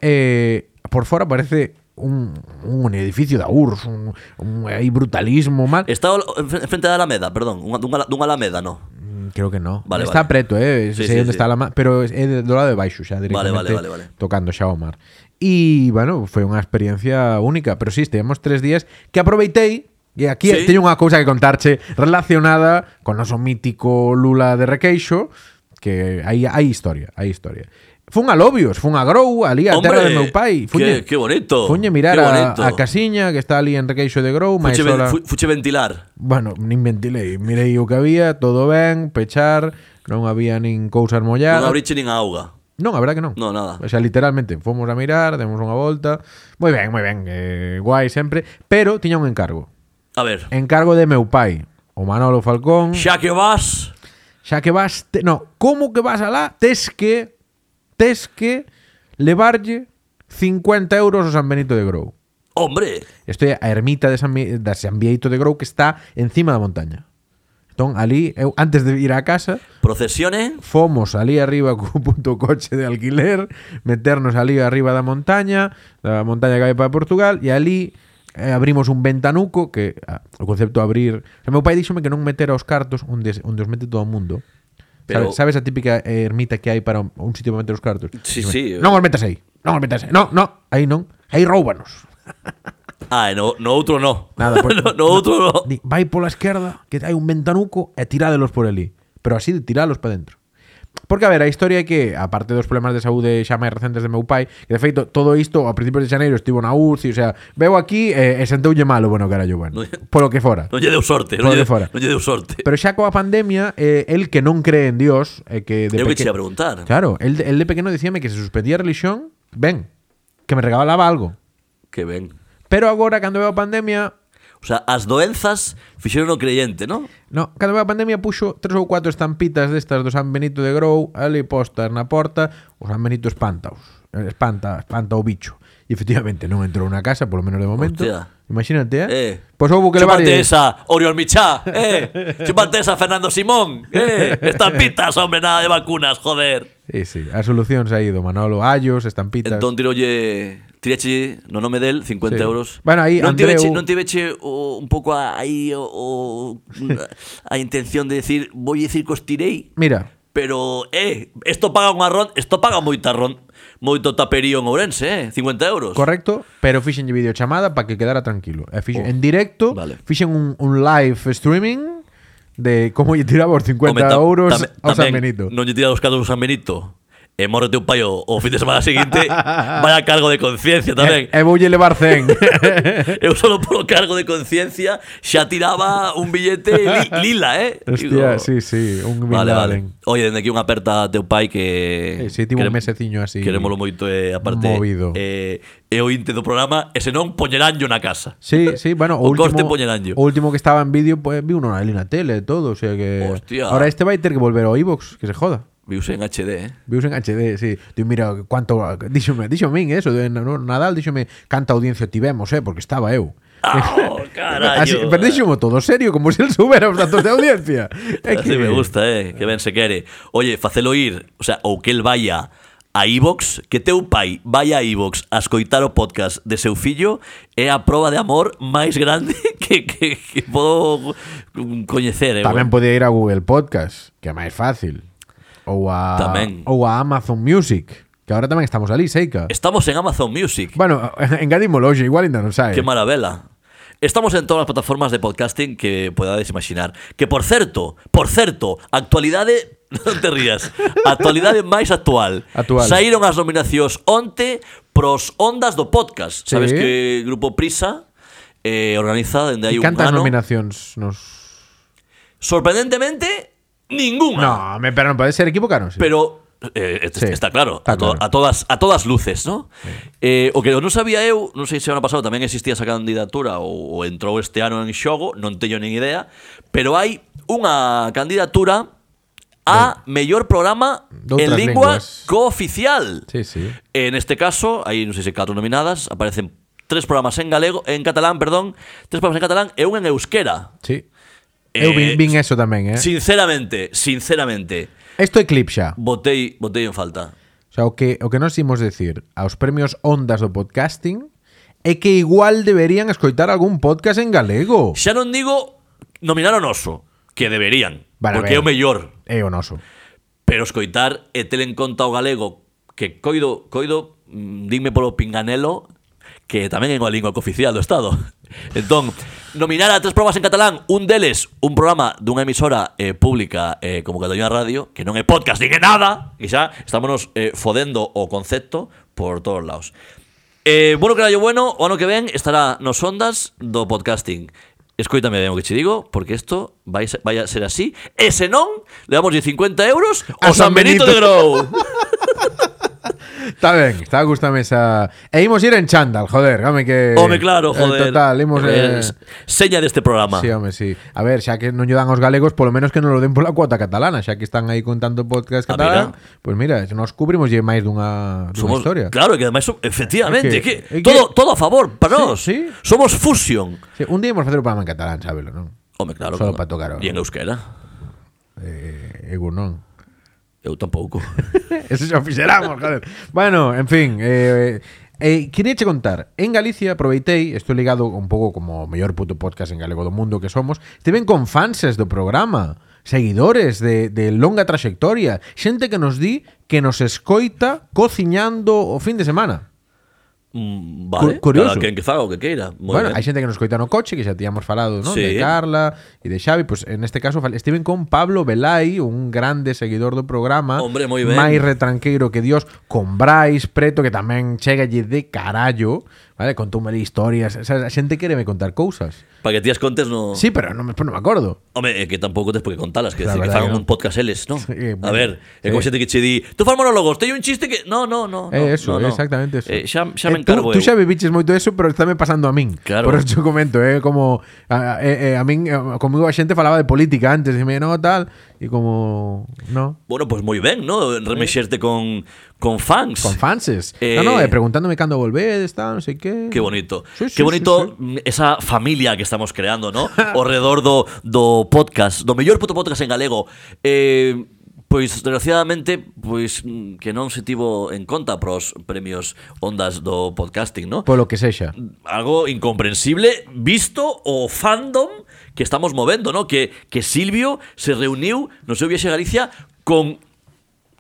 Eh, por fora parece un, un edificio da URSS, un, un aí brutalismo mal.
Está ao- en frente da Alameda, perdón, unha dunha, dunha Alameda, no.
Mm, Creo que no.
Vale,
está
vale.
preto, eh,
Sí,
sei
sí,
onde
sí.
está a la ma- pero é de- do lado de baixo xa directamente.
vale, vale, vale.
Tocando xa o mar. E, bueno, foi unha experiencia única, pero sí, estivemos tres días que aproveitei E aquí
Sí.
teño unha cousa que contarche relacionada con o noso mítico Lula de Requeixo, que hai, hai historia, hai historia. Fun a Lobios, fun a Grou, ali a terra de meu pai.
que, que bonito.
Fuñe mirar
que
a,
bonito.
a casiña que está ali en Requeixo de Grou, máis
Fuche, ven-
sola...
fu- fuche ventilar.
Bueno, nin ventilei, mirei o que había, todo ben, pechar, non había nin cousas molladas.
Non abriche nin a auga.
Non, a verdad que non.
No, nada.
O sea, literalmente, fomos a mirar, demos unha volta. Moi ben, moi ben, eh, guai sempre, pero tiña un encargo.
A ver.
Encargo de meu pai, o Manolo Falcón. Xa,
Xa que vas,
que vas, te, no, como que vas alá, tes que tes que levarlle 50 euros ao San Benito de Grou.
hombre,
Estoy a ermita de San, Mi- da San Vieito de Grou que está encima da montaña. Entón, ali, eu, antes de ir a casa,
procesione.
fomos ali arriba co puto coche de alquiler, meternos ali arriba da montaña, da montaña que hai para Portugal, e ali eh, abrimos un ventanuco, que ah, o concepto de abrir... O meu pai díxome que non meter os cartos onde, se- onde os mete todo o mundo. Pero...
Pero-
Sabes a típica eh, ermita que hai para un, un sitio para meter os cartos?
Sí,
Díxome,
sí.
Non os metas aí, non os metas aí, non, non, aí non, aí roubanos.
Ah, e no, no outro no.
Nada, pues-
no, no outro no.
Di, vai pola esquerda, que hai un ventanuco, e tirádelos por ali. Pero así de tirálos para dentro. Porque, a ver, a historia é que, aparte dos problemas de saúde xa máis recentes de meu pai, que, de feito, todo isto, a principios de xaneiro, estivo na UCI, o sea, veo aquí eh, e sentoulle malo, bueno, carallo, bueno, polo que fora.
Non lle deu sorte,
Por
non lle,
de fora.
non lle deu sorte.
Pero xa coa pandemia, eh, el que non cree en Dios, eh, que de
Eu que che
peque-
ia preguntar.
Claro, el, de- el de pequeno dicíame que se suspendía a religión, ben, que me regalaba algo.
Que ben.
Pero agora, cando veo a pandemia,
O sea, as doenzas fixeron o creyente, non?
No, cando a pandemia puxo tres ou cuatro estampitas destas do San Benito de Grou ali postas na porta, o San Benito espantaos. Espanta, espanta o bicho. E efectivamente non entrou na casa, polo menos de momento.
Hostia.
Imagínate,
Eh.
eh. Pois houbo que levar...
Chúpate esa, Oriol Michá, eh. Chúpate esa, Fernando Simón, eh. Estampitas, hombre, nada de vacunas, joder.
Sí, eh, sí, a solución se ha ido Manolo Ayos, estampitas...
Entón tirolle Tirache no nome del 50
Sí.
euros
Bueno, aí
non
Andreu-
tiveche, non tiveche o, un pouco a, aí o, o, a intención de decir Vou dicir que os tirei
Mira,
Pero, eh, esto paga unha ron, esto paga moita ron, moito taperío en Ourense, eh, 50 euros.
Correcto, pero fixenlle videochamada para que quedara tranquilo. E fixen, en directo,
Oh, vale.
fixen un, un live streaming de como lle tiraba os 50
Home, ta-
euros
tame-
ao San
tamén
Benito.
Non lle tira os cadros ao San Benito. E mórrete un paio o fin de semana seguinte, vaya cargo de conciencia tamén.
E, e voulle levar 100.
Eu solo polo cargo de conciencia xa tiraba un billete li- lila, eh?
Hostia, sí, sí, un Bin
Vale, vale.
Laden.
Oye, dende aquí unha aperta a teu pai que...
Sí, sí, tivo un
quere-
meseciño así.
Querémolo moito, eh, aparte...
movido.
Eh, é o inte do programa, e senón poñeránllo na casa.
Sí, sí, bueno, o,
O corte
último,
poñeranllo.
o último que estaba en vídeo, pues vi uno ali na tele e todo, o sea que
Hostia.
Ahora este vai ter que volver ao iVox, que se joda.
Viuse en HD, eh?
Vius en HD, sí. Digo, mira, cuánto díxome, díxome eso, de no, Nadal díxome canta audiencia tivemos, eh, porque estaba eu.
¡Oh, carallo!
Así, pero díxome todo serio, como se el subera os datos de audiencia. É
Así me gusta, eh, que ben se quere. Oye, facelo ir, o sea, ou que el vaya a iVox, que teu pai vaya a iVox a escoitar o podcast de seu fillo é a proba de amor máis grande que, que, que podo coñecer, eh.
Tamén podía ir a Google Podcast, que é máis fácil. Ou a
Tamén.
ou a Amazon Music, que ahora tamén estamos ali, Seika.
Estamos en Amazon Music.
Bueno, engadímolo, hoxe, igual ainda non sabe.
Qué maravilla. Estamos en todas las plataformas de podcasting que podades imaginar. Que por cierto, por cierto, actualidade, non te rías, actualidade máis actual.
Actual.
Saíron as nominacións onte pros Ondas do Podcast.
Sí.
Sabes que Grupo Prisa eh, organiza dende hai
E
un
cantas
ano.
nominacións nos...
Sorprendentemente, ninguna.
No, me, pero non pode ser, equivocaronse.
Pero eh, est-
Sí,
está claro,
está
a,
claro.
to- a todas a todas luces, ¿no? Eh, o que non sabía eu, non sei se ano pasado tamén existía esa candidatura ou, ou entrou este ano en xogo, non teño nin idea, pero hai unha candidatura a mellor programa
De
en
outras
lingua
linguas.
cooficial.
Sí, sí.
En este caso, hai non sei se catro nominadas, aparecen tres programas en galego, en catalán, perdón, tres programas en catalán e un en euskera.
Sí. Eu vin,
Eh,
vin eso tamén, eh.
Sinceramente, sinceramente,
Esto é clip xa.
botei, botei en falta.
O sea, o que, o que nos imos decir aos premios Ondas do Podcasting é que igual deberían escoitar algún podcast en galego.
Xa non digo nominar o noso, que deberían,
Van a
porque é o
ver.
mellor,
É o noso.
pero escoitar e ter en conta o galego, que coido, coido, mm, dime polo pinganelo, que tamén é unha lingua cooficial do Estado. Entón, nominar a tres probas en catalán, un deles, un programa dunha emisora eh, pública eh, como Cataluña Radio, que non é podcast, nin é nada, e xa estámonos eh, fodendo o concepto por todos lados. Eh, bueno, carallo, bueno, o ano que ven estará nos ondas do podcasting. Escoítame ben o que che digo, porque isto vai, se- vai a ser así. E se non, le damos 50 euros ao
A San
San Benito,
Benito.
de Grou.
Está ben, está a gustame esa... E imos ir en chándal, joder, home que...
Home, claro,
Eh,
joder.
total, imos...
Eh,
Eh...
s- Seña deste programa.
Sí, home, sí. A ver, xa que non lle dan os galegos, polo menos que non lo den pola cuota catalana, xa que están aí con tanto podcast
Ah,
catalán. Pois mira, nos cubrimos lle máis dunha, dunha
Somos-
historia.
Claro, que ademais, som- efectivamente,
É que- é
que,
que-
todo, todo a favor para
Sí,
nós.
sí.
Somos fusion.
Sí, un día imos facer o programa en catalán, sábelo, non?
Home, claro.
Solo
que-
pa tocar o-
E en euskera.
Eh, eu non.
Eu tampouco.
Eso xa o fixeramos, joder. Bueno, en fin, eh, eh, quería che contar En Galicia aproveitei Estou ligado un pouco como o mellor puto podcast en galego do mundo que somos Estiven con fanses do programa Seguidores de, de longa trayectoria Xente que nos di que nos escoita Cociñando o fin de semana
Mm, vale.
Cu- curioso.
Cada quen que faga o que queira. Moi
bueno,
ben.
hai xente que nos coita no coche, que xa tíamos falado, non?
Sí.
De Carla e de Xavi, pois en este caso fal- estiven con Pablo Velay, un grande seguidor do programa,
Hombre, moi ben.
máis retranqueiro que Dios, con Brais Preto que tamén chega de carallo, Vale, contoume historias, o sea, a xente quereme contar cousas.
Para que tías contes no...
Sí, pero non me, pero non me acordo.
Home, é que tampouco tes por que contalas, que
La
decir, que
verdad
fan
que no.
un podcast eles, ¿no?
Sí, bueno,
a ver,
sí.
é como xente que che di, tú faz monólogos, teño un chiste que... No, no, no. no,
É Eh, eso,
no,
é
no.
exactamente eso.
Eh, xa, xa me
Eh, tú-
encargo
Tú
eu.
xa viviches moito eso, pero estáme pasando a min.
Claro.
Por eso comento, é como a, a, eh, eh, a min eh, comigo a xente falaba de política antes, dime, no, tal, e como no,
Bueno, pois pues moi ben, ¿no? Remexerte con, con fans.
con fanses.
Eh,
no, no, eh, preguntándome cando volvedes, tal, non sei que.
Qué bonito.
Sí, sí,
Qué
sí,
bonito
sí.
mm, esa familia que estamos creando, ¿no? Ao redor do, do podcast, do mellor puto podcast en galego. Eh, pois, desgraciadamente, pois mm, que non se tivo en conta pros premios ondas do podcasting, ¿no?
Polo que sexa.
algo incomprensible visto o fandom que estamos movendo, ¿no? Que, que Silvio se reuniu no seu viaxe a Galicia con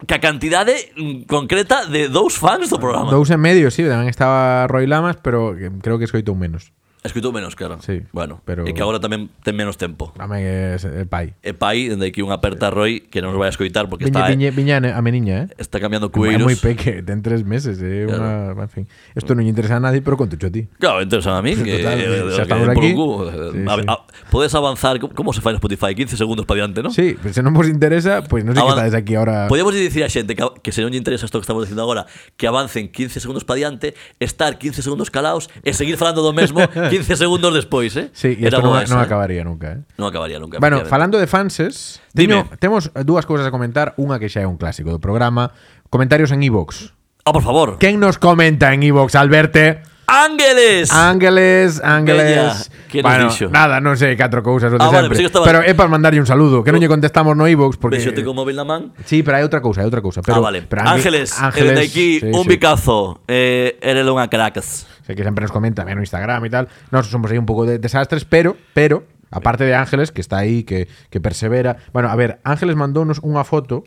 ca cantidade mm, concreta de dous fans do programa.
Dous e medio, sí, tamén estaba Roy Lamas, pero que- creo que escoitou menos.
Escrito menos, claro.
Sí,
bueno,
pero-
e que agora tamén ten menos tempo.
A mí eh, es el pai.
E pai, dende aquí unha aperta a Roy que non os vai a escoitar porque
Viña,
está, eh.
viña, viña a ne- a mi niña, eh?
está
Es
cambiando cueiros.
muy peque, ten tres meses, eh,
Claro.
una- en fin. Esto no interesa a nadie, pero conto cho a ti.
Claro, entonces a mí que,
Total,
eh,
xa
que
estamos
por un
aquí.
cubo.
Sí,
A-
sí.
a- podes avanzar, como- como se fai en Spotify? 15 segundos para adiante, ¿no?
Sí, pero si no os interesa, pues no sé qué
Avan-
estáis aquí ahora.
Podemos dicir a xente que, a- que se non lle interesa isto que estamos dicindo agora Que avancen 15 segundos para diante Estar 15 segundos calaos E seguir falando do mesmo 15 segundos despois eh?
Sí, y
Era
esto no,
boa
no
esa, eh?
acabaría nunca, eh.
Non acabaría nunca
Bueno,
efectivamente.
falando de fanses, teño-
Dime.
temos dúas cousas a comentar, unha que xa é un clásico do programa, comentarios en iVoox.
Ah, por favor
Quen nos comenta en iVoox, Alberto?
Ángeles
Ah, Ángeles, Ángeles.
Bella, que nos
bueno,
dixo?
nada, non sei, catro cousas o de
Ah, vale,
sempre.
pensei que estaba- Uh,
Pero é para mandarlle un saludo, que non lle contestamos no iVoox porque
Vexote con móvil na man
Sí, pero hai outra cousa, hai outra cousa, pero
Ah, vale
pero Ánge-
Ángeles, Ángeles Dende aquí
sí,
un
sí.
bicazo eh, Erelo unha cracas
Sé que siempre nos comenta en Instagram y tal. Nosotros somos ahí un poco de desastres, pero, pero, aparte de Ángeles, que está ahí, que, que persevera. Bueno, a ver, Ángeles mandónos una foto,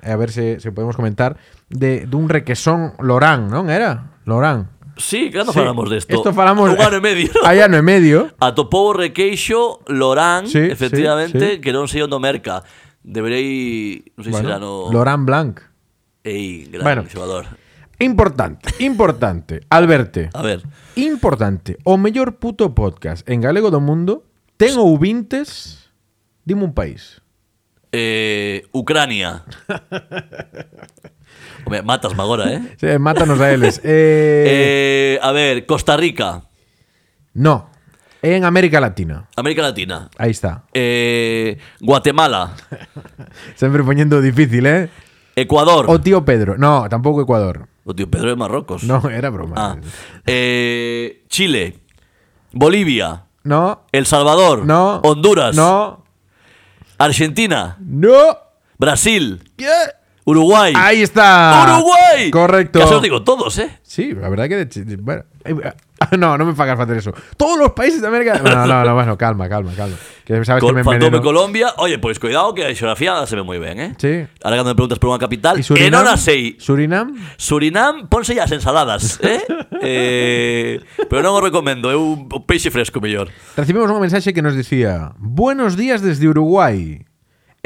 eh, a ver si, si podemos comentar, de, de un requesón Lorán, ¿no? ¿Era? Lorán.
Sí, claro,
Sí,
falamos desto
Esto falamos.
Un ano e medio
Hay ano y medio.
Atopou o Requeixo Lorán,
Sí, sí, sí.
efectivamente, que non sei onde merca. Deberei, non sei se
Bueno,
será no
Lorán Blanc.
Ei, gran
Bueno.
xogador.
Importante, importante. Alberto.
A ver,
Importante. O mellor puto podcast en galego do mundo. Ten ouvintes. Dime un país.
eh, Ucrania. Home, matas agora, eh?
Sí, mátanos a eles. Eh,
eh? A ver, Costa Rica,
No. É En América Latina.
América Latina.
Ahí está.
Eh, Guatemala,
Sempre poñendo difícil, eh?
Ecuador.
O tío Pedro. No, tampouco Ecuador.
O tío Pedro de Marrocos.
No, era broma.
Ah. Eh, Chile, Bolivia,
No.
El Salvador,
No.
Honduras,
No.
Argentina,
No.
Brasil,
Yeah.
Uruguay.
Ahí está.
¡Uruguay!
Correcto.
Casi os digo todos, ¿eh?
Sí, la verdad que... de chi- de- bueno, eh, ah, no, no me fagas hacer eso. Todos los países de América... No, no, no, bueno, calma, calma, calma. Que sabes que me
Col Fantome
enveneno.
Colombia. Oye, pues cuidado que a xeografía se ve muy bien, ¿eh?
Sí.
Ahora cuando me preguntas por una capital,
¿Y
en
Surinam?
hora 6.
Surinam?
Surinam, ponse ya as ensaladas, ¿eh? eh pero no os recomiendo, es un, peixe fresco mejor.
Recibimos un mensaje que nos decía: Buenos días desde Uruguay.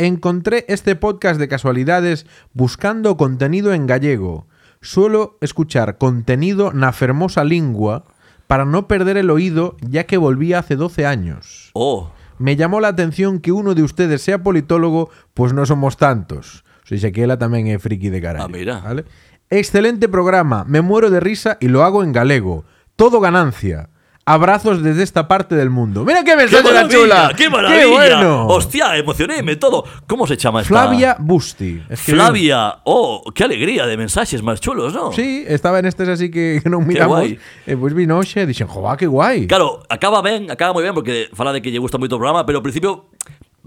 Encontré este podcast de casualidades buscando contenido en gallego. Suelo escuchar contenido na fermosa lingua para no perder el oído, ya que volví hace 12 años.
Oh,
Me llamó la atención que uno de ustedes sea politólogo, pues no somos tantos. Soy Sequela también es friki de cara.
Ah, mira.
Excelente programa, me muero de risa y lo hago en galego. Todo ganancia. Abrazos desde esta parte del mundo. Mira qué
¡Qué
mensaje tan
maravilla!
chula.
¡Qué maravilla!
bueno.
Hostia, emocionéme todo. ¿Cómo se llama esta?
Flavia Busti. escribió-
Flavia. Oh, qué alegría de mensajes más chulos, ¿no?
Sí, estaba en estes así que, que non miramos.
guai.
Eh, pues vino Oxe, dixen, jová, que guai.
Claro, acaba bien, acaba muy bien porque fala de que lle gusta moito o programa, pero ao principio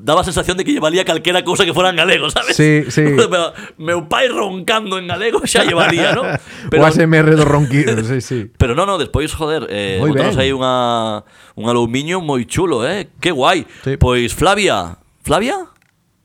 daba a sensación de que lle valía calquera cousa que fueran galego, sabes?
Sí, sí.
Pero meu pai roncando en galego xa lle valía, ¿no?
o ASMR do ronquido, sí, sí.
Pero no, no, despois, joder, eh,
Moi
botanos
ben.
aí unha, un aluminio moi chulo, eh? Que guai.
Sí.
Pois Flavia, Flavia?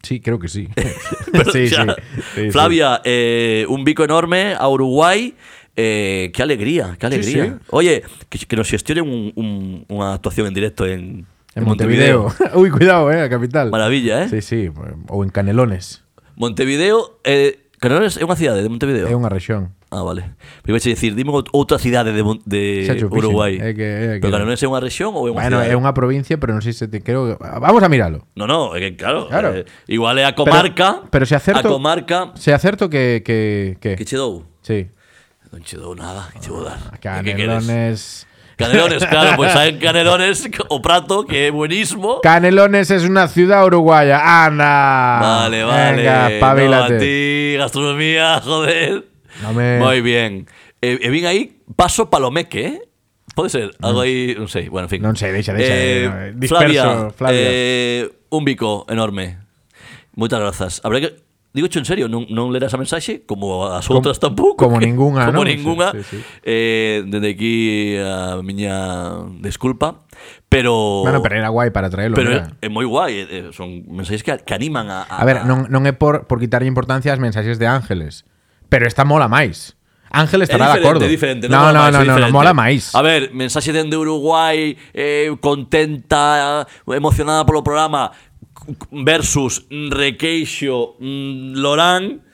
Sí, creo que sí.
Pero,
sí,
o sea,
sí.
Flavia, eh, un bico enorme a Uruguay. Eh, qué alegría, qué alegría.
sí.
Oye, que, que nos gestionen un- un- una actuación en directo en,
En Montevideo. Uy, cuidado, eh, a capital.
Maravilla, eh.
Sí, sí. O en Canelones.
Montevideo, eh, Canoles é unha cidade de Montevideo?
É unha rexión.
Ah, vale. Primeiro che dicir, dime out- outra cidade de, Mon- de
Xa chupixen,
Uruguai.
é que- é que-
Pero Canoles é unha rexión ou é unha
Bueno,
cidade?
é unha provincia, pero non sei se te creo que... Vamos a miralo.
No, no, é que claro,
Claro.
eh, igual é a comarca.
Pero- pero se acerto-
A comarca
Se acerto que... que, que...
que che dou.
Sí.
Non che dou nada, que che vou dar. Que
Ah,
queres?
Canelones...
Canelones, claro, pois pues, hai en Canelones o prato que é buenísimo.
Canelones es una ciudad uruguaya. ¡Ana!
Vale, vale.
Ah, Venga,
No, a
espabilate.
ti, gastronomía, joder.
Dame.
Muy bien. E, e vin aí Paso Palomeque, eh? Pode ser, algo aí, non sei, bueno, en fin.
Non sei, deixa, deixa, eh,
Eh,
disperso, Flavia.
Eh, un bico enorme. Moitas grazas. Habrá que Digo en serio, non, non lerás a mensaxe Como as
Como-
outras tampouco
como
que-
ningunha,
Como
non?
ningunha
Sí, sí, sí.
Eh, Dende aquí a miña desculpa Pero
Bueno, pero era guai para traelo.
pero é,
mira.
é moi guai eh, eh, Son mensaxes que, que animan a,
A ver, non, non é por, por quitarlle importancia ás mensaxes de Ángeles, pero esta mola máis. Ángeles estará de
diferente,
acordo.
diferente,
no,
mola
no,
máis,
no,
é
no, no,
diferente.
mola máis.
A ver, mensaxe dende Uruguai eh, contenta, emocionada polo programa versus Requeixo mm, Lorán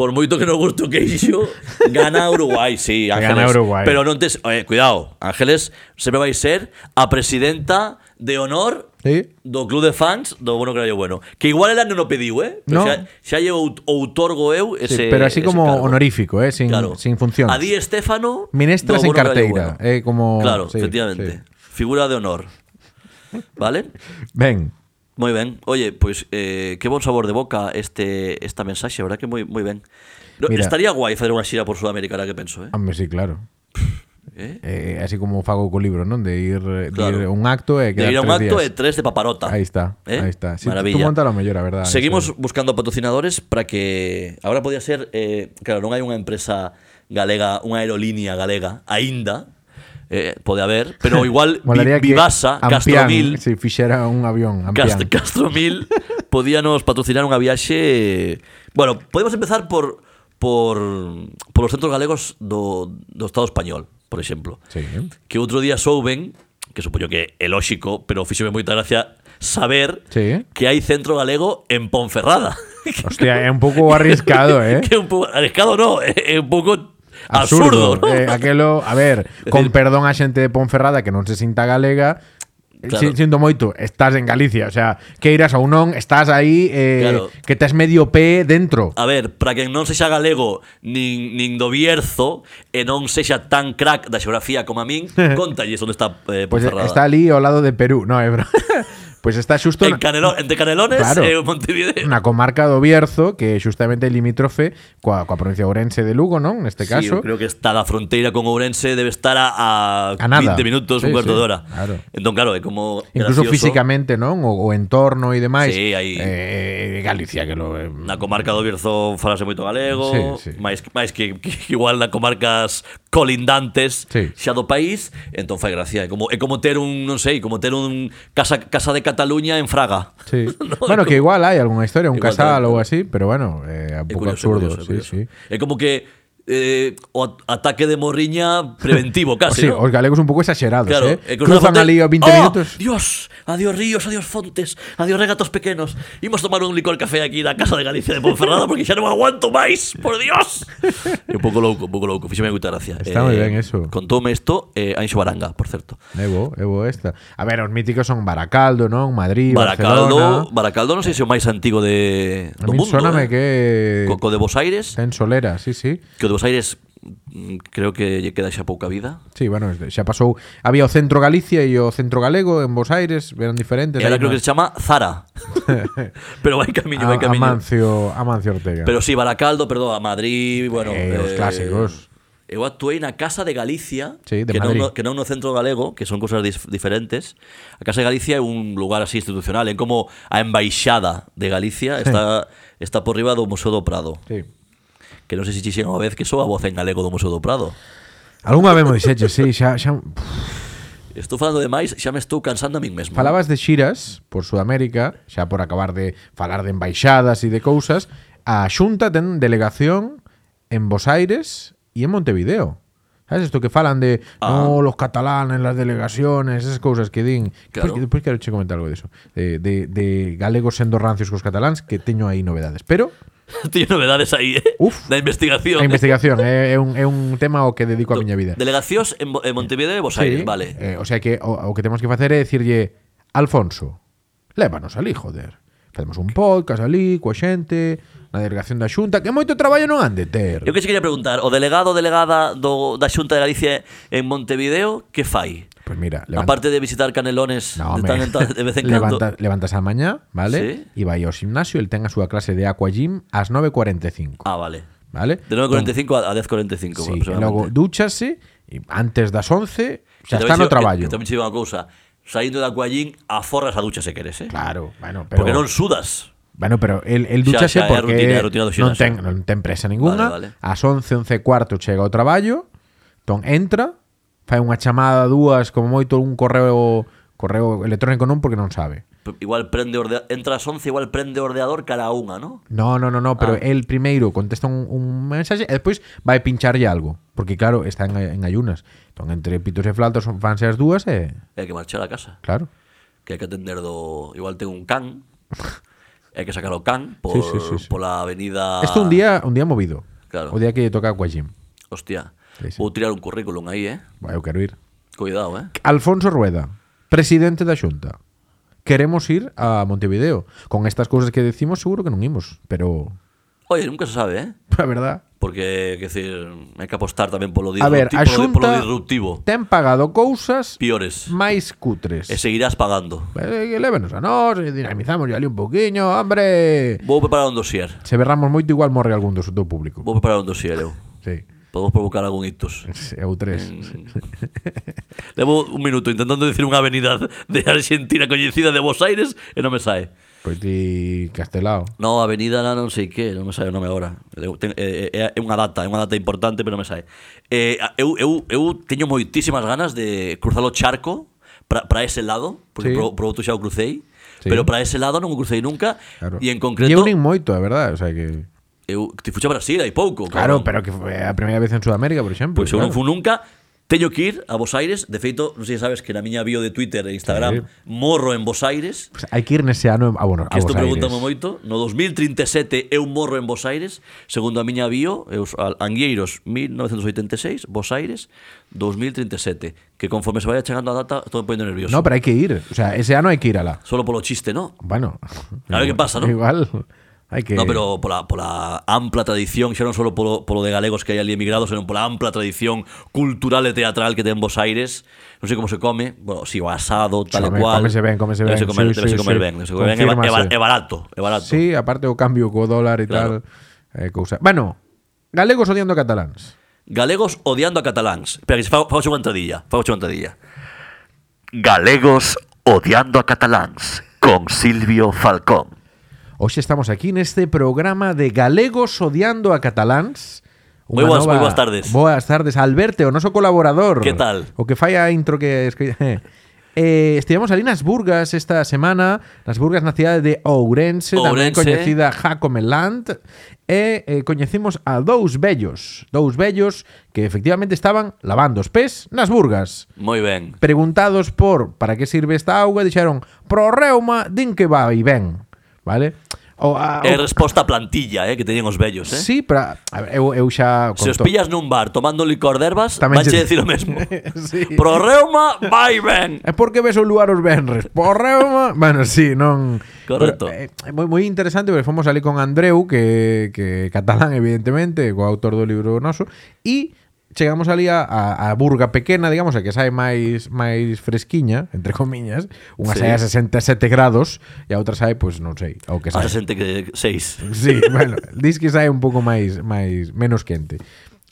Por moito que non gusto queixo, gana Uruguai, sí, Ángeles.
Gana Uruguai.
Pero non tes, eh, cuidado, Ángeles sempre vai ser a presidenta de honor
Sí.
do club de fans do Bueno Carallo Bueno. Que igual ela non o pediu, eh? Pero
No.
xa, xa lle out- outorgo eu
Sí,
ese
pero así
ese
como
cargo.
honorífico, eh, sin,
Claro.
sin función.
A Di Estéfano.
Minestra
do
sen
Bueno Carallo
carteira, eh, como-
Claro,
sí,
efectivamente.
sí.
Figura de honor. ¿Vale?
Ven,
Muy bien. Oye, pues eh, qué buen sabor de boca este esta mensaje, ¿verdad? Que muy, muy bien. No,
Mira.
estaría guay hacer una gira por Sudamérica, ahora que pienso, ¿eh?
hombre, sí, claro.
¿Eh?
Eh, así como fago co libro, non? De ir, eh,
Claro.
de ir a un acto e
De
quedar
ir a un
tres
acto
días.
de tres de paparota.
Ahí está,
¿Eh?
ahí está. Sí, tú-
Maravilla.
tú monta lo mellor, a verdad,
Seguimos
eso.
buscando patrocinadores para que... Ahora podía ser... eh, claro, non hai unha empresa galega, unha aerolínea galega, aínda, eh, pode haber, pero igual
Molaría
Vi-
que
Vivasa,
Ampián
Castromil,
se fixera un avión. Ampián.
Cast- Castromil podíanos patrocinar unha viaxe... eh, Bueno, podemos empezar por por por os centros galegos do, do Estado español, por exemplo.
Sí.
Que outro día souben, que supoño que é lóxico, pero fíxeme moita gracia saber
Sí.
que hai centro galego en Ponferrada.
Hostia, é un pouco arriscado, eh?
que é un pouco arriscado no, é é un pouco absurdo, ¿no?
eh, aquelo, a ver, con perdón a xente de Ponferrada que non se sinta galega, eh,
Claro.
si- sinto moito, estás en Galicia, o sea, que irás ou non, estás aí eh,
Claro. Ah,
que tes medio pé dentro.
A ver, para quen non sexa galego nin, nin do Bierzo e non sexa tan crack da xeografía como a min, contalles onde está eh,
Pois pues
Ponferrada.
está ali ao lado de Perú, no, é bro. pois está xusto na,
En Canelo- entre Canelones
Claro.
e Montevideo.
na comarca do Bierzo, que é xustamente limítrofe coa, coa provincia de Ourense de Lugo, non? Neste
Sí,
este caso.
eu creo que está da fronteira con Ourense debe estar a, a,
A nada.
20 minutos,
Sí,
un
sí,
cuarto de hora.
claro.
Entón, claro, é como
Incluso
gracioso
físicamente, non? O, o entorno e demais.
Sí, aí-
Eh, Galicia, que lo... eh,
Na comarca do Bierzo falase moito galego,
Sí, sí.
máis, máis que, que igual na comarcas colindantes
Sí.
xa do país, entón fai gracia. É como, é como ter un, non sei, como ter un casa, casa de Cataluña en Fraga.
Sí.
No,
bueno, que igual hay alguna historia, un
Igual
casal
tamén,
o algo
claro.
así, pero bueno, eh, un
É
poco
curioso,
absurdo. sí,
curioso, curioso.
sí.
É como que eh, o at- ataque de morriña preventivo
O
case,
sí,
¿no?
os galegos un pouco exaxerados,
Claro,
eh?
e cruzan a
Cruzan
fronte-
ali a 20
¡Oh!
minutos.
Dios, adiós ríos, adiós fontes, adiós regatos pequenos. Imos tomar un licor café aquí na casa de Galicia de Ponferrada porque xa non aguanto máis, por Dios. É un pouco louco, un pouco louco, fíxeme moita gracia.
Está moi ben eso.
Contoume isto eh, Anxo Baranga, por certo.
É bo, é bo esta. A ver, os míticos son Baracaldo, non? Madrid, Barcelona.
Baracaldo, Baracaldo non sei se é o máis antigo de
A
do
mí
mundo.
sóname
eh.
que
Co, co de Bos Aires,
está en Solera, sí, sí.
que o de Bos Aires mm, creo que lle queda xa pouca vida.
Sí, bueno, xa pasou, había o Centro Galicia e o Centro Galego en Bos Aires, eran diferentes.
E ahora
hai
creo que
unha-
se chama Zara. Pero vai camiño, vai
a,
camiño.
Amancio, Amancio Ortega.
Pero sí, Baracaldo, perdón, a Madrid, bueno...
Eh, os clásicos.
Eu actuei na Casa de Galicia,
Sí, de
que, non,
Madrid.
no- que non no centro galego, que son cosas dis- diferentes. A Casa de Galicia é un lugar así institucional, é como a embaixada de Galicia, está está por riba do Museo do Prado,
Sí.
que non sei se chixen unha vez que só a voz en galego do Museo do Prado.
Algunha vez mo dixeche, sí, xa, xa
Estou falando de máis, xa me estou cansando a min mesmo.
Falabas de xiras por Sudamérica, xa por acabar de falar de embaixadas e de cousas, a Xunta ten delegación en Bos Aires e en Montevideo. Sabes isto que falan de
Ah.
no, los catalanes, las delegaciones, esas cousas que din.
Claro.
Despois, despois quero che comentar algo diso. De, de, de galegos sendo rancios cos cataláns, que teño aí novedades. Pero
Tiene novedades ahí, ¿eh?
Uf.
La investigación.
a investigación é, é, un, é un tema ao que dedico a miña vida.
Delegacións en, Bo- en Montevideo e Bos
Sí.
Aires, vale.
Eh, o sea que o, o que tenemos que hacer es decirle, Alfonso, lévanos alí, joder. Hacemos un podcast alí, coa xente, na delegación da Xunta, que moito traballo non han de ter.
Eu que se quería preguntar, o delegado ou delegada do, da Xunta de Galicia en Montevideo, que fai?
Pues mira,
Aparte de visitar canelones
No, home.
de, tan en tan- de vez en cando.
Levanta- levantas a mañá, vale? Y
Sí.
vai ao gimnasio, el ten a súa clase de aqua gym ás 9:45,
Ah, vale.
vale?
De 9.45 a a 10.45
Sí, e
aproximadamente.
logo dúchase e antes das 11
Que
xa
tamén
está
che-
no
que-
traballo.
Que, tamén che digo unha cousa, saindo da Aquallín, aforras a ducha se queres, eh?
Claro, bueno, pero
Porque non sudas.
Bueno, pero el, el
Xa,
duchase
xa, é a
porque
rutina- a rutina do
non,
ximnasio.
ten, non ten presa ninguna.
Vale, vale.
Ás 11, 11 e cuarto chega ao traballo, entón entra, fai unha chamada, dúas, como moito un correo correo electrónico non porque non sabe.
P- Igual prende ordea... Entras 11, igual prende ordeador cara a unha, ¿no?
No, no, no, no, pero
Ah.
el primeiro contesta un, un mensaxe e despois vai pincharlle algo, porque claro, está en, en ayunas. Entón entre pitos e flautas son fanse as dúas e
E hai que marchar a casa.
claro.
Que hai que atender do... Igual ten un can. e hai que sacar o can
Sí,
por,
sí, sí, sí.
pola avenida...
Isto un día un día movido.
Ah. Claro.
O día que lle toca coa gym.
Hostia.
Sí, sí.
Vou tirar un currículum aí, eh?
Vai, eu quero ir.
Cuidado, eh?
Alfonso Rueda, presidente da Xunta. Queremos ir a Montevideo. Con estas cousas que decimos seguro que non imos, pero
Oye, nunca se sabe, eh?
a verdad.
Porque, quer decir, hai que apostar tamén polo
A ver,
disruptivo,
a
polo, di- polo
Xunta
disruptivo.
ten pagado cousas
Piores.
máis cutres.
E seguirás pagando.
Eh, Lévenos a nós, e dinamizamos ali un poquinho, hombre.
Vou preparar un dosier.
Se berramos moito igual morre algún do teu público.
Vou preparar un dosier, eu.
Sí.
Podemos provocar algún ictus.
Sí, Ou tres.
Mm. Levo un minuto intentando dicir unha avenida de Argentina coñecida de Buenos Aires e non me sae.
Pois ti castelao.
No, avenida na non sei que, non me sae o nome agora. Eu ten- É, é, é unha data, é unha data importante, pero non me sae. Eh, a- eu, eu, eu teño moitísimas ganas de cruzar o charco para ese lado, porque
Sí.
pro, pro outro xa o crucei,
Sí.
pero para ese lado non o crucei nunca,
Claro.
e en concreto,
Lle unen moito, é verdade, o sea que
eu te fuche a Brasil hai pouco.
Claro,
cabrón.
pero que foi a primeira vez en Sudamérica, por exemplo.
Pois eu non
claro.
fun nunca Teño que ir a Bos Aires De feito, non sei se sabes que na miña bio de Twitter e Instagram
Sí.
Morro en Bos Aires
Pues hai que ir nese ano a, bueno, a
Que isto
Bos Aires.
pregúntame moito No 2037 eu morro en Bos Aires Segundo a miña bio eu, s- al- Angueiros 1986 Bos Aires 2037 Que conforme se vaya chegando a data Estou me poñendo nervioso
No, pero hai que ir. O sea, ese ano hai que ir alá.
Solo polo chiste, no?
Bueno.
A ver qué pasa, ¿no?
Igual. Hai que
No, pero pola, pola ampla tradición, xa non só polo, polo de galegos que hai ali emigrados, senón pola ampla tradición cultural e teatral que ten Bos Aires, non sei como se come, bueno, si o asado, tal e
Come-
cual.
cómese ben, cómese ben,
Debe
sí,
comer, débese
sí,
comer
sí.
ben, débese comer ben, é ba- é, ba-
Confírmase.
é barato, é barato.
Sí, aparte o cambio co dólar e tal.
Claro.
Eh, cousa. Bueno, galegos odiando a cataláns.
Galegos odiando a cataláns. Espera, que se fa, fa unha entradilla, fa unha entradilla. Galegos odiando a cataláns con Silvio Falcón.
Hoxe estamos aquí neste programa de galegos odiando a cataláns.
Moi
Unha
boas- moi boas tardes.
Boas tardes, Alberto, o noso colaborador.
Que tal?
O que fai a intro que escri... Eh, estivemos ali nas Burgas esta semana Nas Burgas na cidade de Ourense, Tamén
Ourense.
coñecida Jacome Land E eh, coñecimos a dous vellos Dous vellos que efectivamente estaban lavando os pés nas Burgas
Moi ben.
preguntados por para que sirve esta auga, dixeron pro reuma, din que vai ben, vale? O, a,
É
o,
resposta plantilla, eh, que teñen os vellos, eh?
Ah, sí, pero a ver, eu, eu xa
Se os
conto-
pillas nun bar tomando licor de ervas,
Tamén
vache
che-
dicir o mesmo.
Sí.
Pro reuma, vai ben.
É porque ves o lugar os venres. Por reuma, bueno, sí, non.
Correcto.
Pero, eh, é moi moi interesante porque fomos ali con Andreu que que é catalán evidentemente, co autor do libro noso e chegamos ali a, a, a burga pequena, digamos, a que sai máis máis fresquiña, entre comiñas, unha
Sí.
sai a 67 grados e a outra sai, pois pues, non sei, ao que
A
sai.
66.
Sí, bueno, dis que sae un pouco máis máis menos quente.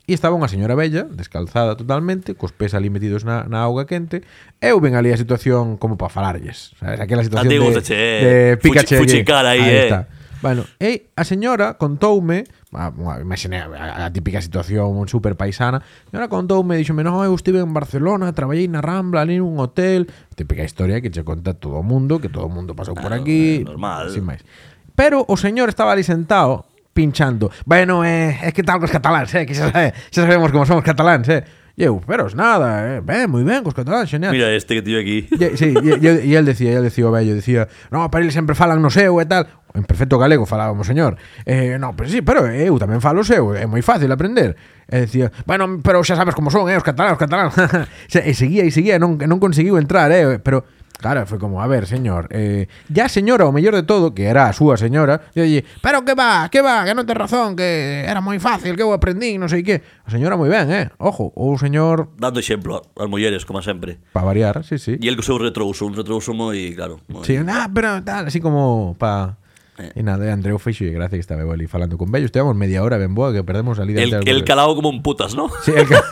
E estaba unha señora bella, descalzada totalmente, cos pés ali metidos na, na auga quente. e Eu ven ali a situación como para falarlles. Sabes? Aquela situación
Antigo,
de,
che, eh,
de Pikachu.
fuchi- fuchicar aí, eh.
Bueno, e a señora contoume a, a, Imaginé a, a típica situación super paisana A señora contoume, dixome No, eu estive en Barcelona, traballei na Rambla Ali nun hotel Típica historia que che conta todo o mundo Que todo o mundo pasou por
Claro,
aquí
eh, normal.
Sin máis Pero o señor estaba ali sentado pinchando. Bueno, eh, es que tal cos cataláns, eh, que xa, sabe, xa sabemos como somos cataláns, eh. E eu, pero es nada, eh, ben, moi ben, cos cataláns, genial.
Mira este que tío aquí.
E, sí, e, e, e el decía, e el decía o vello, decía, no, para eles sempre falan no seu e tal. En perfecto galego falábamos, señor. Eh, no, pero sí, pero eu tamén falo seu, é moi fácil aprender. E decía, bueno, pero xa sabes como son, eh, os cataláns, os cataláns. Se- e seguía e seguía, e non, non conseguiu entrar, eh, pero... Claro, foi como, a ver, señor eh, Ya a señora, o mellor de todo, que era a súa señora Dille, pero que va, que va, que non ten razón Que era moi fácil, que eu aprendín, non sei que A señora moi ben, eh, ojo O señor,
Dando exemplo ás mulleres, como sempre.
pa variar, sí, sí
E el co seu retrouso, un retrouso moi, claro, moi...
Sí, ah, pero tal, así como pa... E
Eh.
nada, Andreu feixo e gracia que estaba eu ali falando con vellos. Estivamos media hora ben boa que perdemos a lida.
El, el calado como un putas, ¿no?
Sí, el, ca...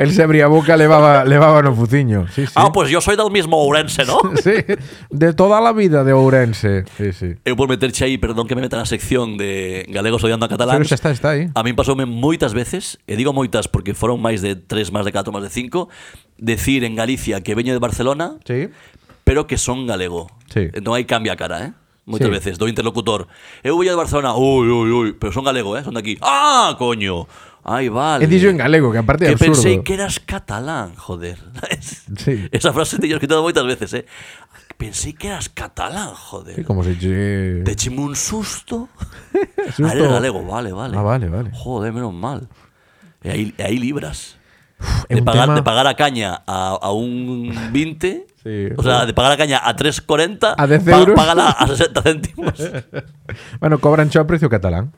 el se abría a boca, levaba, levaba no fuciño. Sí, sí.
Ah, pues yo soy del mismo Ourense, ¿no?
sí. De toda la vida de Ourense. Sí, sí.
Eu por meterche aí, perdón que me meta na sección de galegos odiando a
Pero
catalán.
xa está, está aí.
A min pasoume moitas veces, e digo moitas porque foron máis de tres, máis de catro, máis de cinco, decir en Galicia que veño de Barcelona,
Sí.
pero que son galego.
Sí.
Entón aí cambia a cara, eh? Moitas
Sí.
veces, do interlocutor. Eu veño de Barcelona, ui, ui, ui, pero son galego, eh? Son de aquí. Ah, coño. Ai,
E
vale.
dixo en galego, que aparte é
Que
absurdo.
pensei que eras catalán, joder.
Sí.
Esa frase te he escrito moitas veces, eh? Pensei que eras catalán, joder.
Sí, como se... Che...
Te chimo un susto.
Susto.
Ah, eres galego, vale, vale.
Ah, vale, vale.
Joder, menos mal. E aí, e aí libras.
é
De
un
pagar,
tema-
de pagar a caña a, a un 20.
Sí.
O sea, de pagar a caña a 3,40.
A 10 euros.
Págala a 60 céntimos.
Bueno, cobran xa o precio catalán.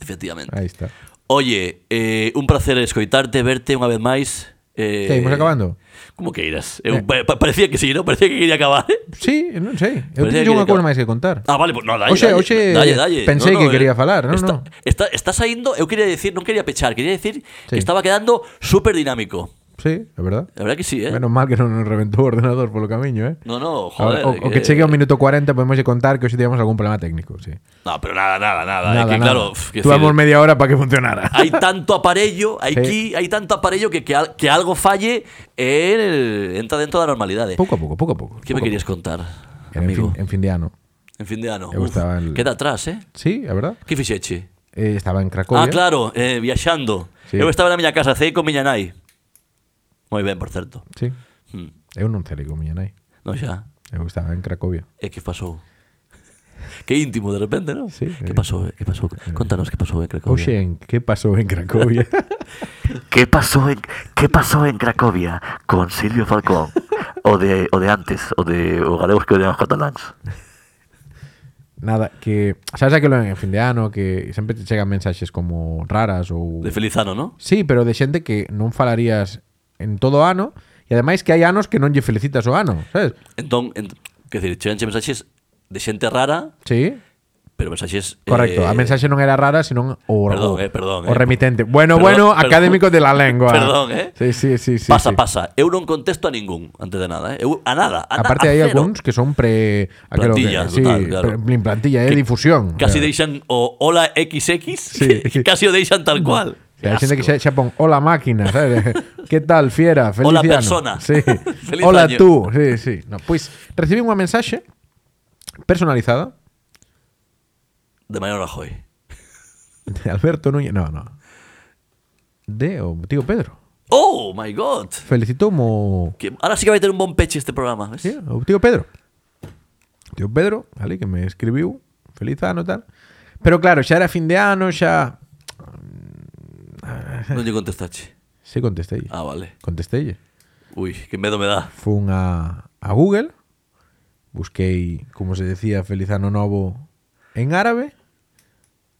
Efectivamente.
Aí está.
Oye, eh, un placer escoitarte, verte unha vez máis. Eh,
Que, imos acabando? Eh.
Como que irás? Eu, pa- pa- parecía que sí, ¿no? Parecía que quería acabar. eh?
Sí, non sei. Eu
Parecía
teño
que
unha cousa
acaba-
máis que contar.
Ah, vale, pues no, dalle,
Oxe,
dalle,
oxe,
dalle, dalle.
pensei que
eh,
quería falar, no, no.
está, Está, está saindo, eu quería decir, non quería pechar, quería decir
Sí.
que estaba quedando super dinámico.
Sí, é verdad.
La verdad que sí, eh.
Menos mal que non nos reventou o ordenador polo camiño, eh?
no, no, joder.
Ahora, o, o que chegue ao minuto 40 podemos contar que hoxe tivemos algún problema técnico, sí.
No, pero nada, nada, nada.
Nada,
Ah, es que
nada.
claro, pf, que
Tuvamos
decir,
media hora para que funcionara.
hay tanto aparello, hay, aquí, hay tanto aparello que, que, al- que algo falle, eh, entra dentro de la normalidad. eh.
Pouco a pouco, pouco a pouco. pouco
¿Qué me
a
querías contar,
pouco. En
amigo?
fin, eh, en fin de ano.
En fin de ano.
Eu
Uf,
estaba en-
Queda atrás, eh.
Sí, é verdad.
¿Qué fixeche?
Eh, estaba en Cracovia.
Ah, claro, eh, viaxando.
Sí.
Eu estaba na miña casa, cei con miña nai. Moi ben, por certo.
Sí.
Hmm.
Eu non celei con miña nai.
Non xa,
Eu Eh, estaba en Cracovia.
é que pasou. Que íntimo de repente, non?
Sí,
que
eh.
pasou, eh? que pasou? Contanos eh, que pasou en Cracovia.
Oxe, en que pasou en Cracovia?
¿Qué pasó en, qué pasó en Cracovia con Silvio Falcón? O de, o de antes, o de o galegos que odiamos catalans.
Nada, que sabes aquilo en fin de ano que sempre te chegan mensaxes como raras ou
De Felizano, non?
Sí, pero de xente que non falarías en todo o ano e ademais que hai anos que non lle felicitas o ano, sabes?
Entón, ent... que decir, cheganche mensaxes de xente rara,
Sí.
pero mensaxes...
Correcto,
eh,
a mensaxe non era rara, senón o, o,
Perdón, eh, perdón,
o
eh.
remitente. Bueno,
Perdón,
bueno,
perdón.
académico de la lengua.
Perdón, eh.
Sí, sí, sí, sí.
Pasa,
sí.
pasa. Eu non contesto a ningún, antes de nada, eh? Eu, a nada, a, na-
Aparte
a
hai
cero.
algúns que son pre aquelo
Plantillas,
que, sí,
total, claro.
pre- en plantilla, é eh, difusión.
Casi
claro.
deixan o hola XX,
Sí.
casi o deixan tal cual.
Sí, Hai xente que
Asco.
xa, xa pon hola máquina, sabes? que tal fiera, feliz
Hola,
ano".
persona.
Sí.
Feliz
hola
año.
tú, sí, sí. No, pois recibí unha mensaxe personalizada
De Mariano Rajoy.
de Alberto Núñez, no, no. De o tío Pedro.
Oh my god.
Felicitou mo
Que ahora sí que vai ter un bon peche este programa, ves?
Sí, o tío Pedro. O tío Pedro, ali, que me escribiu, feliz ano e tal. Pero claro, xa era fin de ano, xa...
Non lle contestache.
Sí, contestei.
Ah, vale.
Contestei.
Ui, que medo me dá.
Fun a, a Google, busquei, como se decía, feliz ano novo en árabe,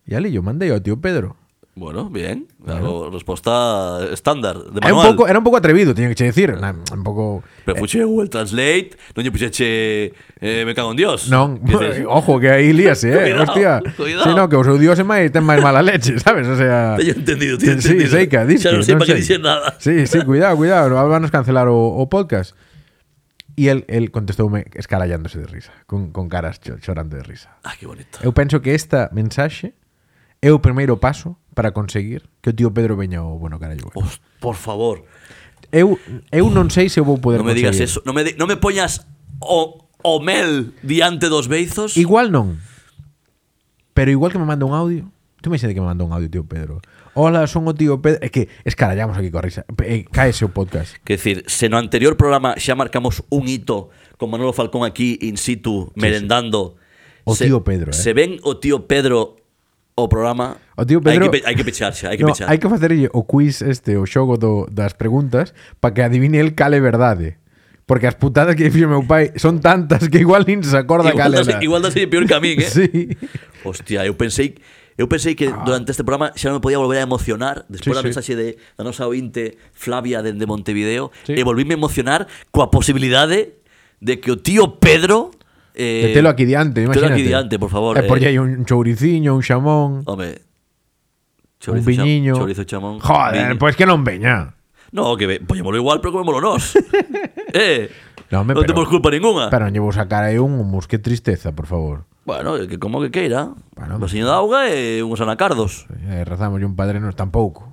e ali yo mandei ao tío Pedro.
Bueno, bien. Algo, resposta estándar,
Era un,
de
eh,
manual.
pouco, era un pouco atrevido, teño que che decir. Na- Un pouco...
Pero fuche Google Translate, non lle puxeche eh, me cago en Dios.
Non,
Dices,
ojo, que aí líase, eh,
Cuidado,
hostia.
cuidado.
Si no, que o seu dios é máis, ten máis mala leche, sabes? O sea...
Teño entendido,
Sí,
teño entendido.
sei que a disque,
Xa non sei
non
para que
sei.
dixen nada.
Sí, sí, cuidado, cuidado, no van a cancelar o, o podcast. Y él, él contestoume escarallándose de risa, con, con caras cho- chorando de risa.
Ah, que bonito.
Eu penso que esta mensaxe é o primeiro paso para conseguir que o tío Pedro veña ao bueno carallo. Bueno.
Os- Pues, por favor,
Eu, eu non sei se eu vou poder
non me digas
conseguir.
eso. Non me, di- non me poñas o, o mel diante dos beizos.
Igual non. Pero igual que me manda un audio. Tú me dices que me manda un audio, tío Pedro. Hola, son o tío Pedro. É que escarallamos aquí coa risa. Eh, caese o podcast.
Quer dicir, se no anterior programa xa marcamos un hito con Manolo Falcón aquí in situ merendando.
O tío Pedro, eh.
Se ven o tío Pedro o programa.
O tío Pedro-
Hai que, pe- hai que pechar xa, hai que
no,
pechar.
hai que facerlle o quiz este, o xogo do, das preguntas para que adivine el cale verdade. Porque as putadas que dixo meu pai son tantas que igual nin se acorda
igual,
cale.
das,
era.
igual das peor que a min, eh.
Sí. Ah.
Hostia, eu pensei Eu pensei que durante este programa xa non me podía volver a emocionar despois
Sí,
da
sí.
mensaxe de da nosa ointe Flavia dende Montevideo
Sí.
e volvíme a emocionar coa posibilidade de que o tío Pedro eh,
Metelo aquí diante,
metelo
imagínate.
aquí diante, por favor.
E por
eh.
aí un chouriciño, un xamón,
Home.
un
Chorizo cha-
viñiño.
Chorizo chamón.
Joder,
viño.
pois pues que non veña.
No, que ve- poñémolo igual, pero comémolo nós. eh,
No, home,
non
pero-
temos culpa ninguna.
Pero non llevo sacar aí un humus, que tristeza, por favor.
Bueno, que como que queira.
Bueno.
Un vasiño de auga e uns anacardos.
Eh, rezamoslle un padre nos tampouco.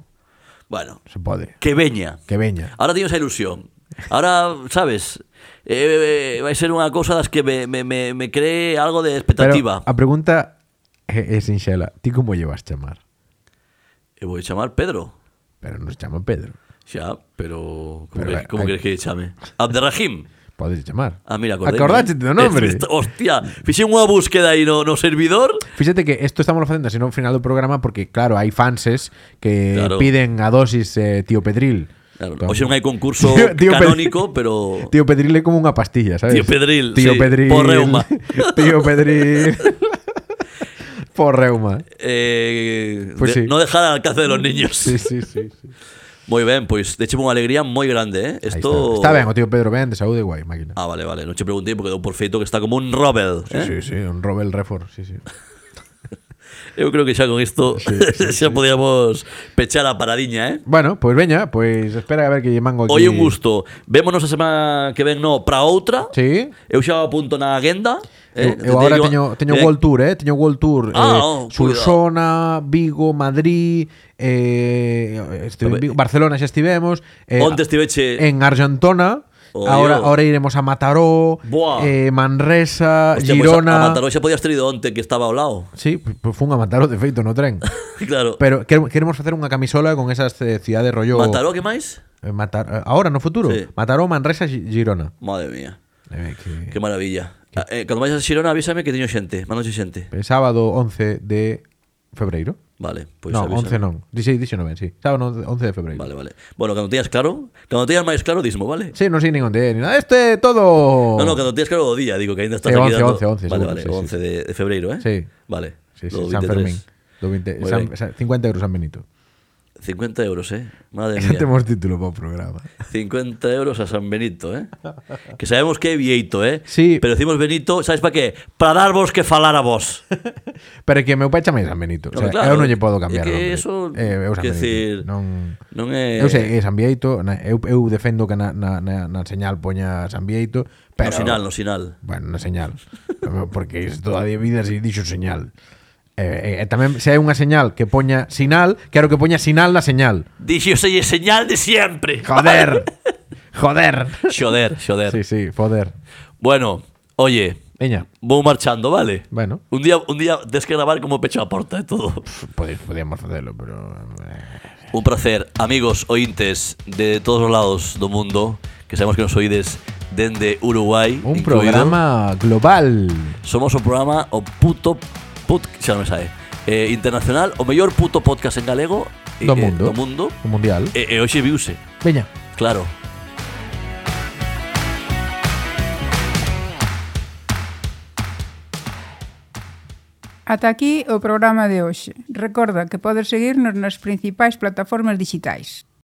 Bueno,
Se pode.
que veña.
Que veña.
Ahora teño esa ilusión. Ahora, sabes, eh, eh, vai ser unha cousa das que me, me, me, me cree algo
Pero
de expectativa.
a pregunta eh, é, é sinxela. Ti como lle vas chamar?
E vou chamar Pedro.
Pero nos chama Pedro.
Xa, pero... Como,
Pero,
que,
eh,
como
hai-
queres que lle chame? Abderrahim.
Podes chamar.
Ah, mira, acordeime.
Acordaste do nombre.
Esto- Hostia, fixen unha búsqueda aí no, no servidor.
Fíxate que isto estamos facendo así no final do programa porque, claro, hai fanses que
Claro.
piden a dosis eh, tío Pedril.
Claro,
Entón-
hoxe non hai concurso
Pedri-
canónico, pero-
Tío Pedril é como unha pastilla, sabes?
Tío Pedril,
Tío
sí,
Pedril.
por reuma.
Tío Pedril. por reuma.
Eh,
Pues Pois
de-
sí.
No dejar al alcance de los niños.
Sí, sí, sí. sí.
Moi ben, pois, pues, unha alegría moi grande, eh?
Aí
Esto...
Está. está ben, o tío Pedro ben, de saúde guai, máquina.
Ah, vale, vale, non che preguntei porque dou por feito que está como un Robel.
Sí,
eh?
sí, sí, un Robel Refor, sí, sí.
Eu creo que xa con isto xa podíamos pechar a paradiña, eh?
Bueno, pois pues veña, pois pues espera a ver que lle mango aquí.
Oi, un gusto. Vémonos a semana que ven, no, para outra.
Sí.
Eu xa apunto na agenda. Eh?
Eu, eu agora teño, teño
eh,
World Tour, eh? Teño World Tour
Ah,
eh,
oh,
Solsona, Vigo, Madrid eh, estive en Vigo, Barcelona xa estivemos eh,
Onte estiveche-
En Argentona
Oh,
Ahora,
yo.
ahora iremos a Mataró
Buah.
eh, Manresa,
hostia, pois,
Girona
A, a Mataró xa podías ter ido onte que estaba ao lado.
Sí, pues, pues fun a Mataró de feito no tren
claro.
Pero quere- queremos facer unha camisola con esas eh, cidades rollo
Mataró, que máis?
eh, Matar, eh, Ahora, no futuro
Sí.
Mataró, Manresa, Gi- Girona
Madre mía.
eh, que...
Que maravilla. Ah, Eh, cando vais a Xirona avísame que teño xente, manoche xente.
Eh, Sábado 11 de febreiro
Vale, pois
no,
avísame.
11 non. 16, 19, sí. Sábado 11 11 de febreiro.
Vale, vale. Bueno, cando teñas claro, cando teñas máis claro dismo, vale?
Sí, Oh. non sei nin onde é, nin nada. Este é todo.
No, no, cando teñas claro o día, digo que ainda estás
Eh, 11,
aquí dando.
11, 11,
vale,
seguro,
vale,
sí, sí,
11 de, de febreiro, eh?
Sí.
Vale.
Sí, sí,
do
San
23.
Fermín. Do 20,
Moi
San-
ben.
San- 50 euros San Benito.
50 euros, eh? Madre
Xa
mía.
temos título para o programa.
50 euros a San Benito, eh? Que sabemos que é vieito, eh?
Sí.
Pero decimos Benito, ¿sabes para qué? Para darvos que falar a vos.
Pero é que meu pai chama San Benito.
No,
o sea,
claro,
eu non lle podo cambiar o
é que
nombre.
eso,
Eh, eu San Benito.
quer decir, eh,
non...
Non é
Eu sei, é San Bieito, na- eu, eu defendo que na, na, na, na señal poña San Bieito, pero...
no sinal, no sinal.
Bueno, na señal. Porque isto a vida se dixo señal. Eh, eh, e tamén se hai unha señal que poña sinal, quero que poña sinal na señal.
Dixo selle señal de siempre.
Joder. Joder.
Xoder, xoder.
Sí, sí, joder.
Bueno, oye,
Veña,
vou marchando, vale?
Bueno.
Un día, un día tes que grabar como pecho a porta e todo.
podeis- podíamos facelo, pero... eh,
Un placer, amigos ointes de todos os lados do mundo, que sabemos que nos oídes dende Uruguai.
Un
incluído.
programa global.
Somos o programa o puto put, xa non me sae. Eh, internacional, o mellor puto podcast en galego eh,
Do
eh,
mundo.
do mundo.
O mundial.
E, e hoxe viuse,
Veña.
claro.
Ata aquí o programa de hoxe. Recorda que podes seguirnos nas principais plataformas digitais.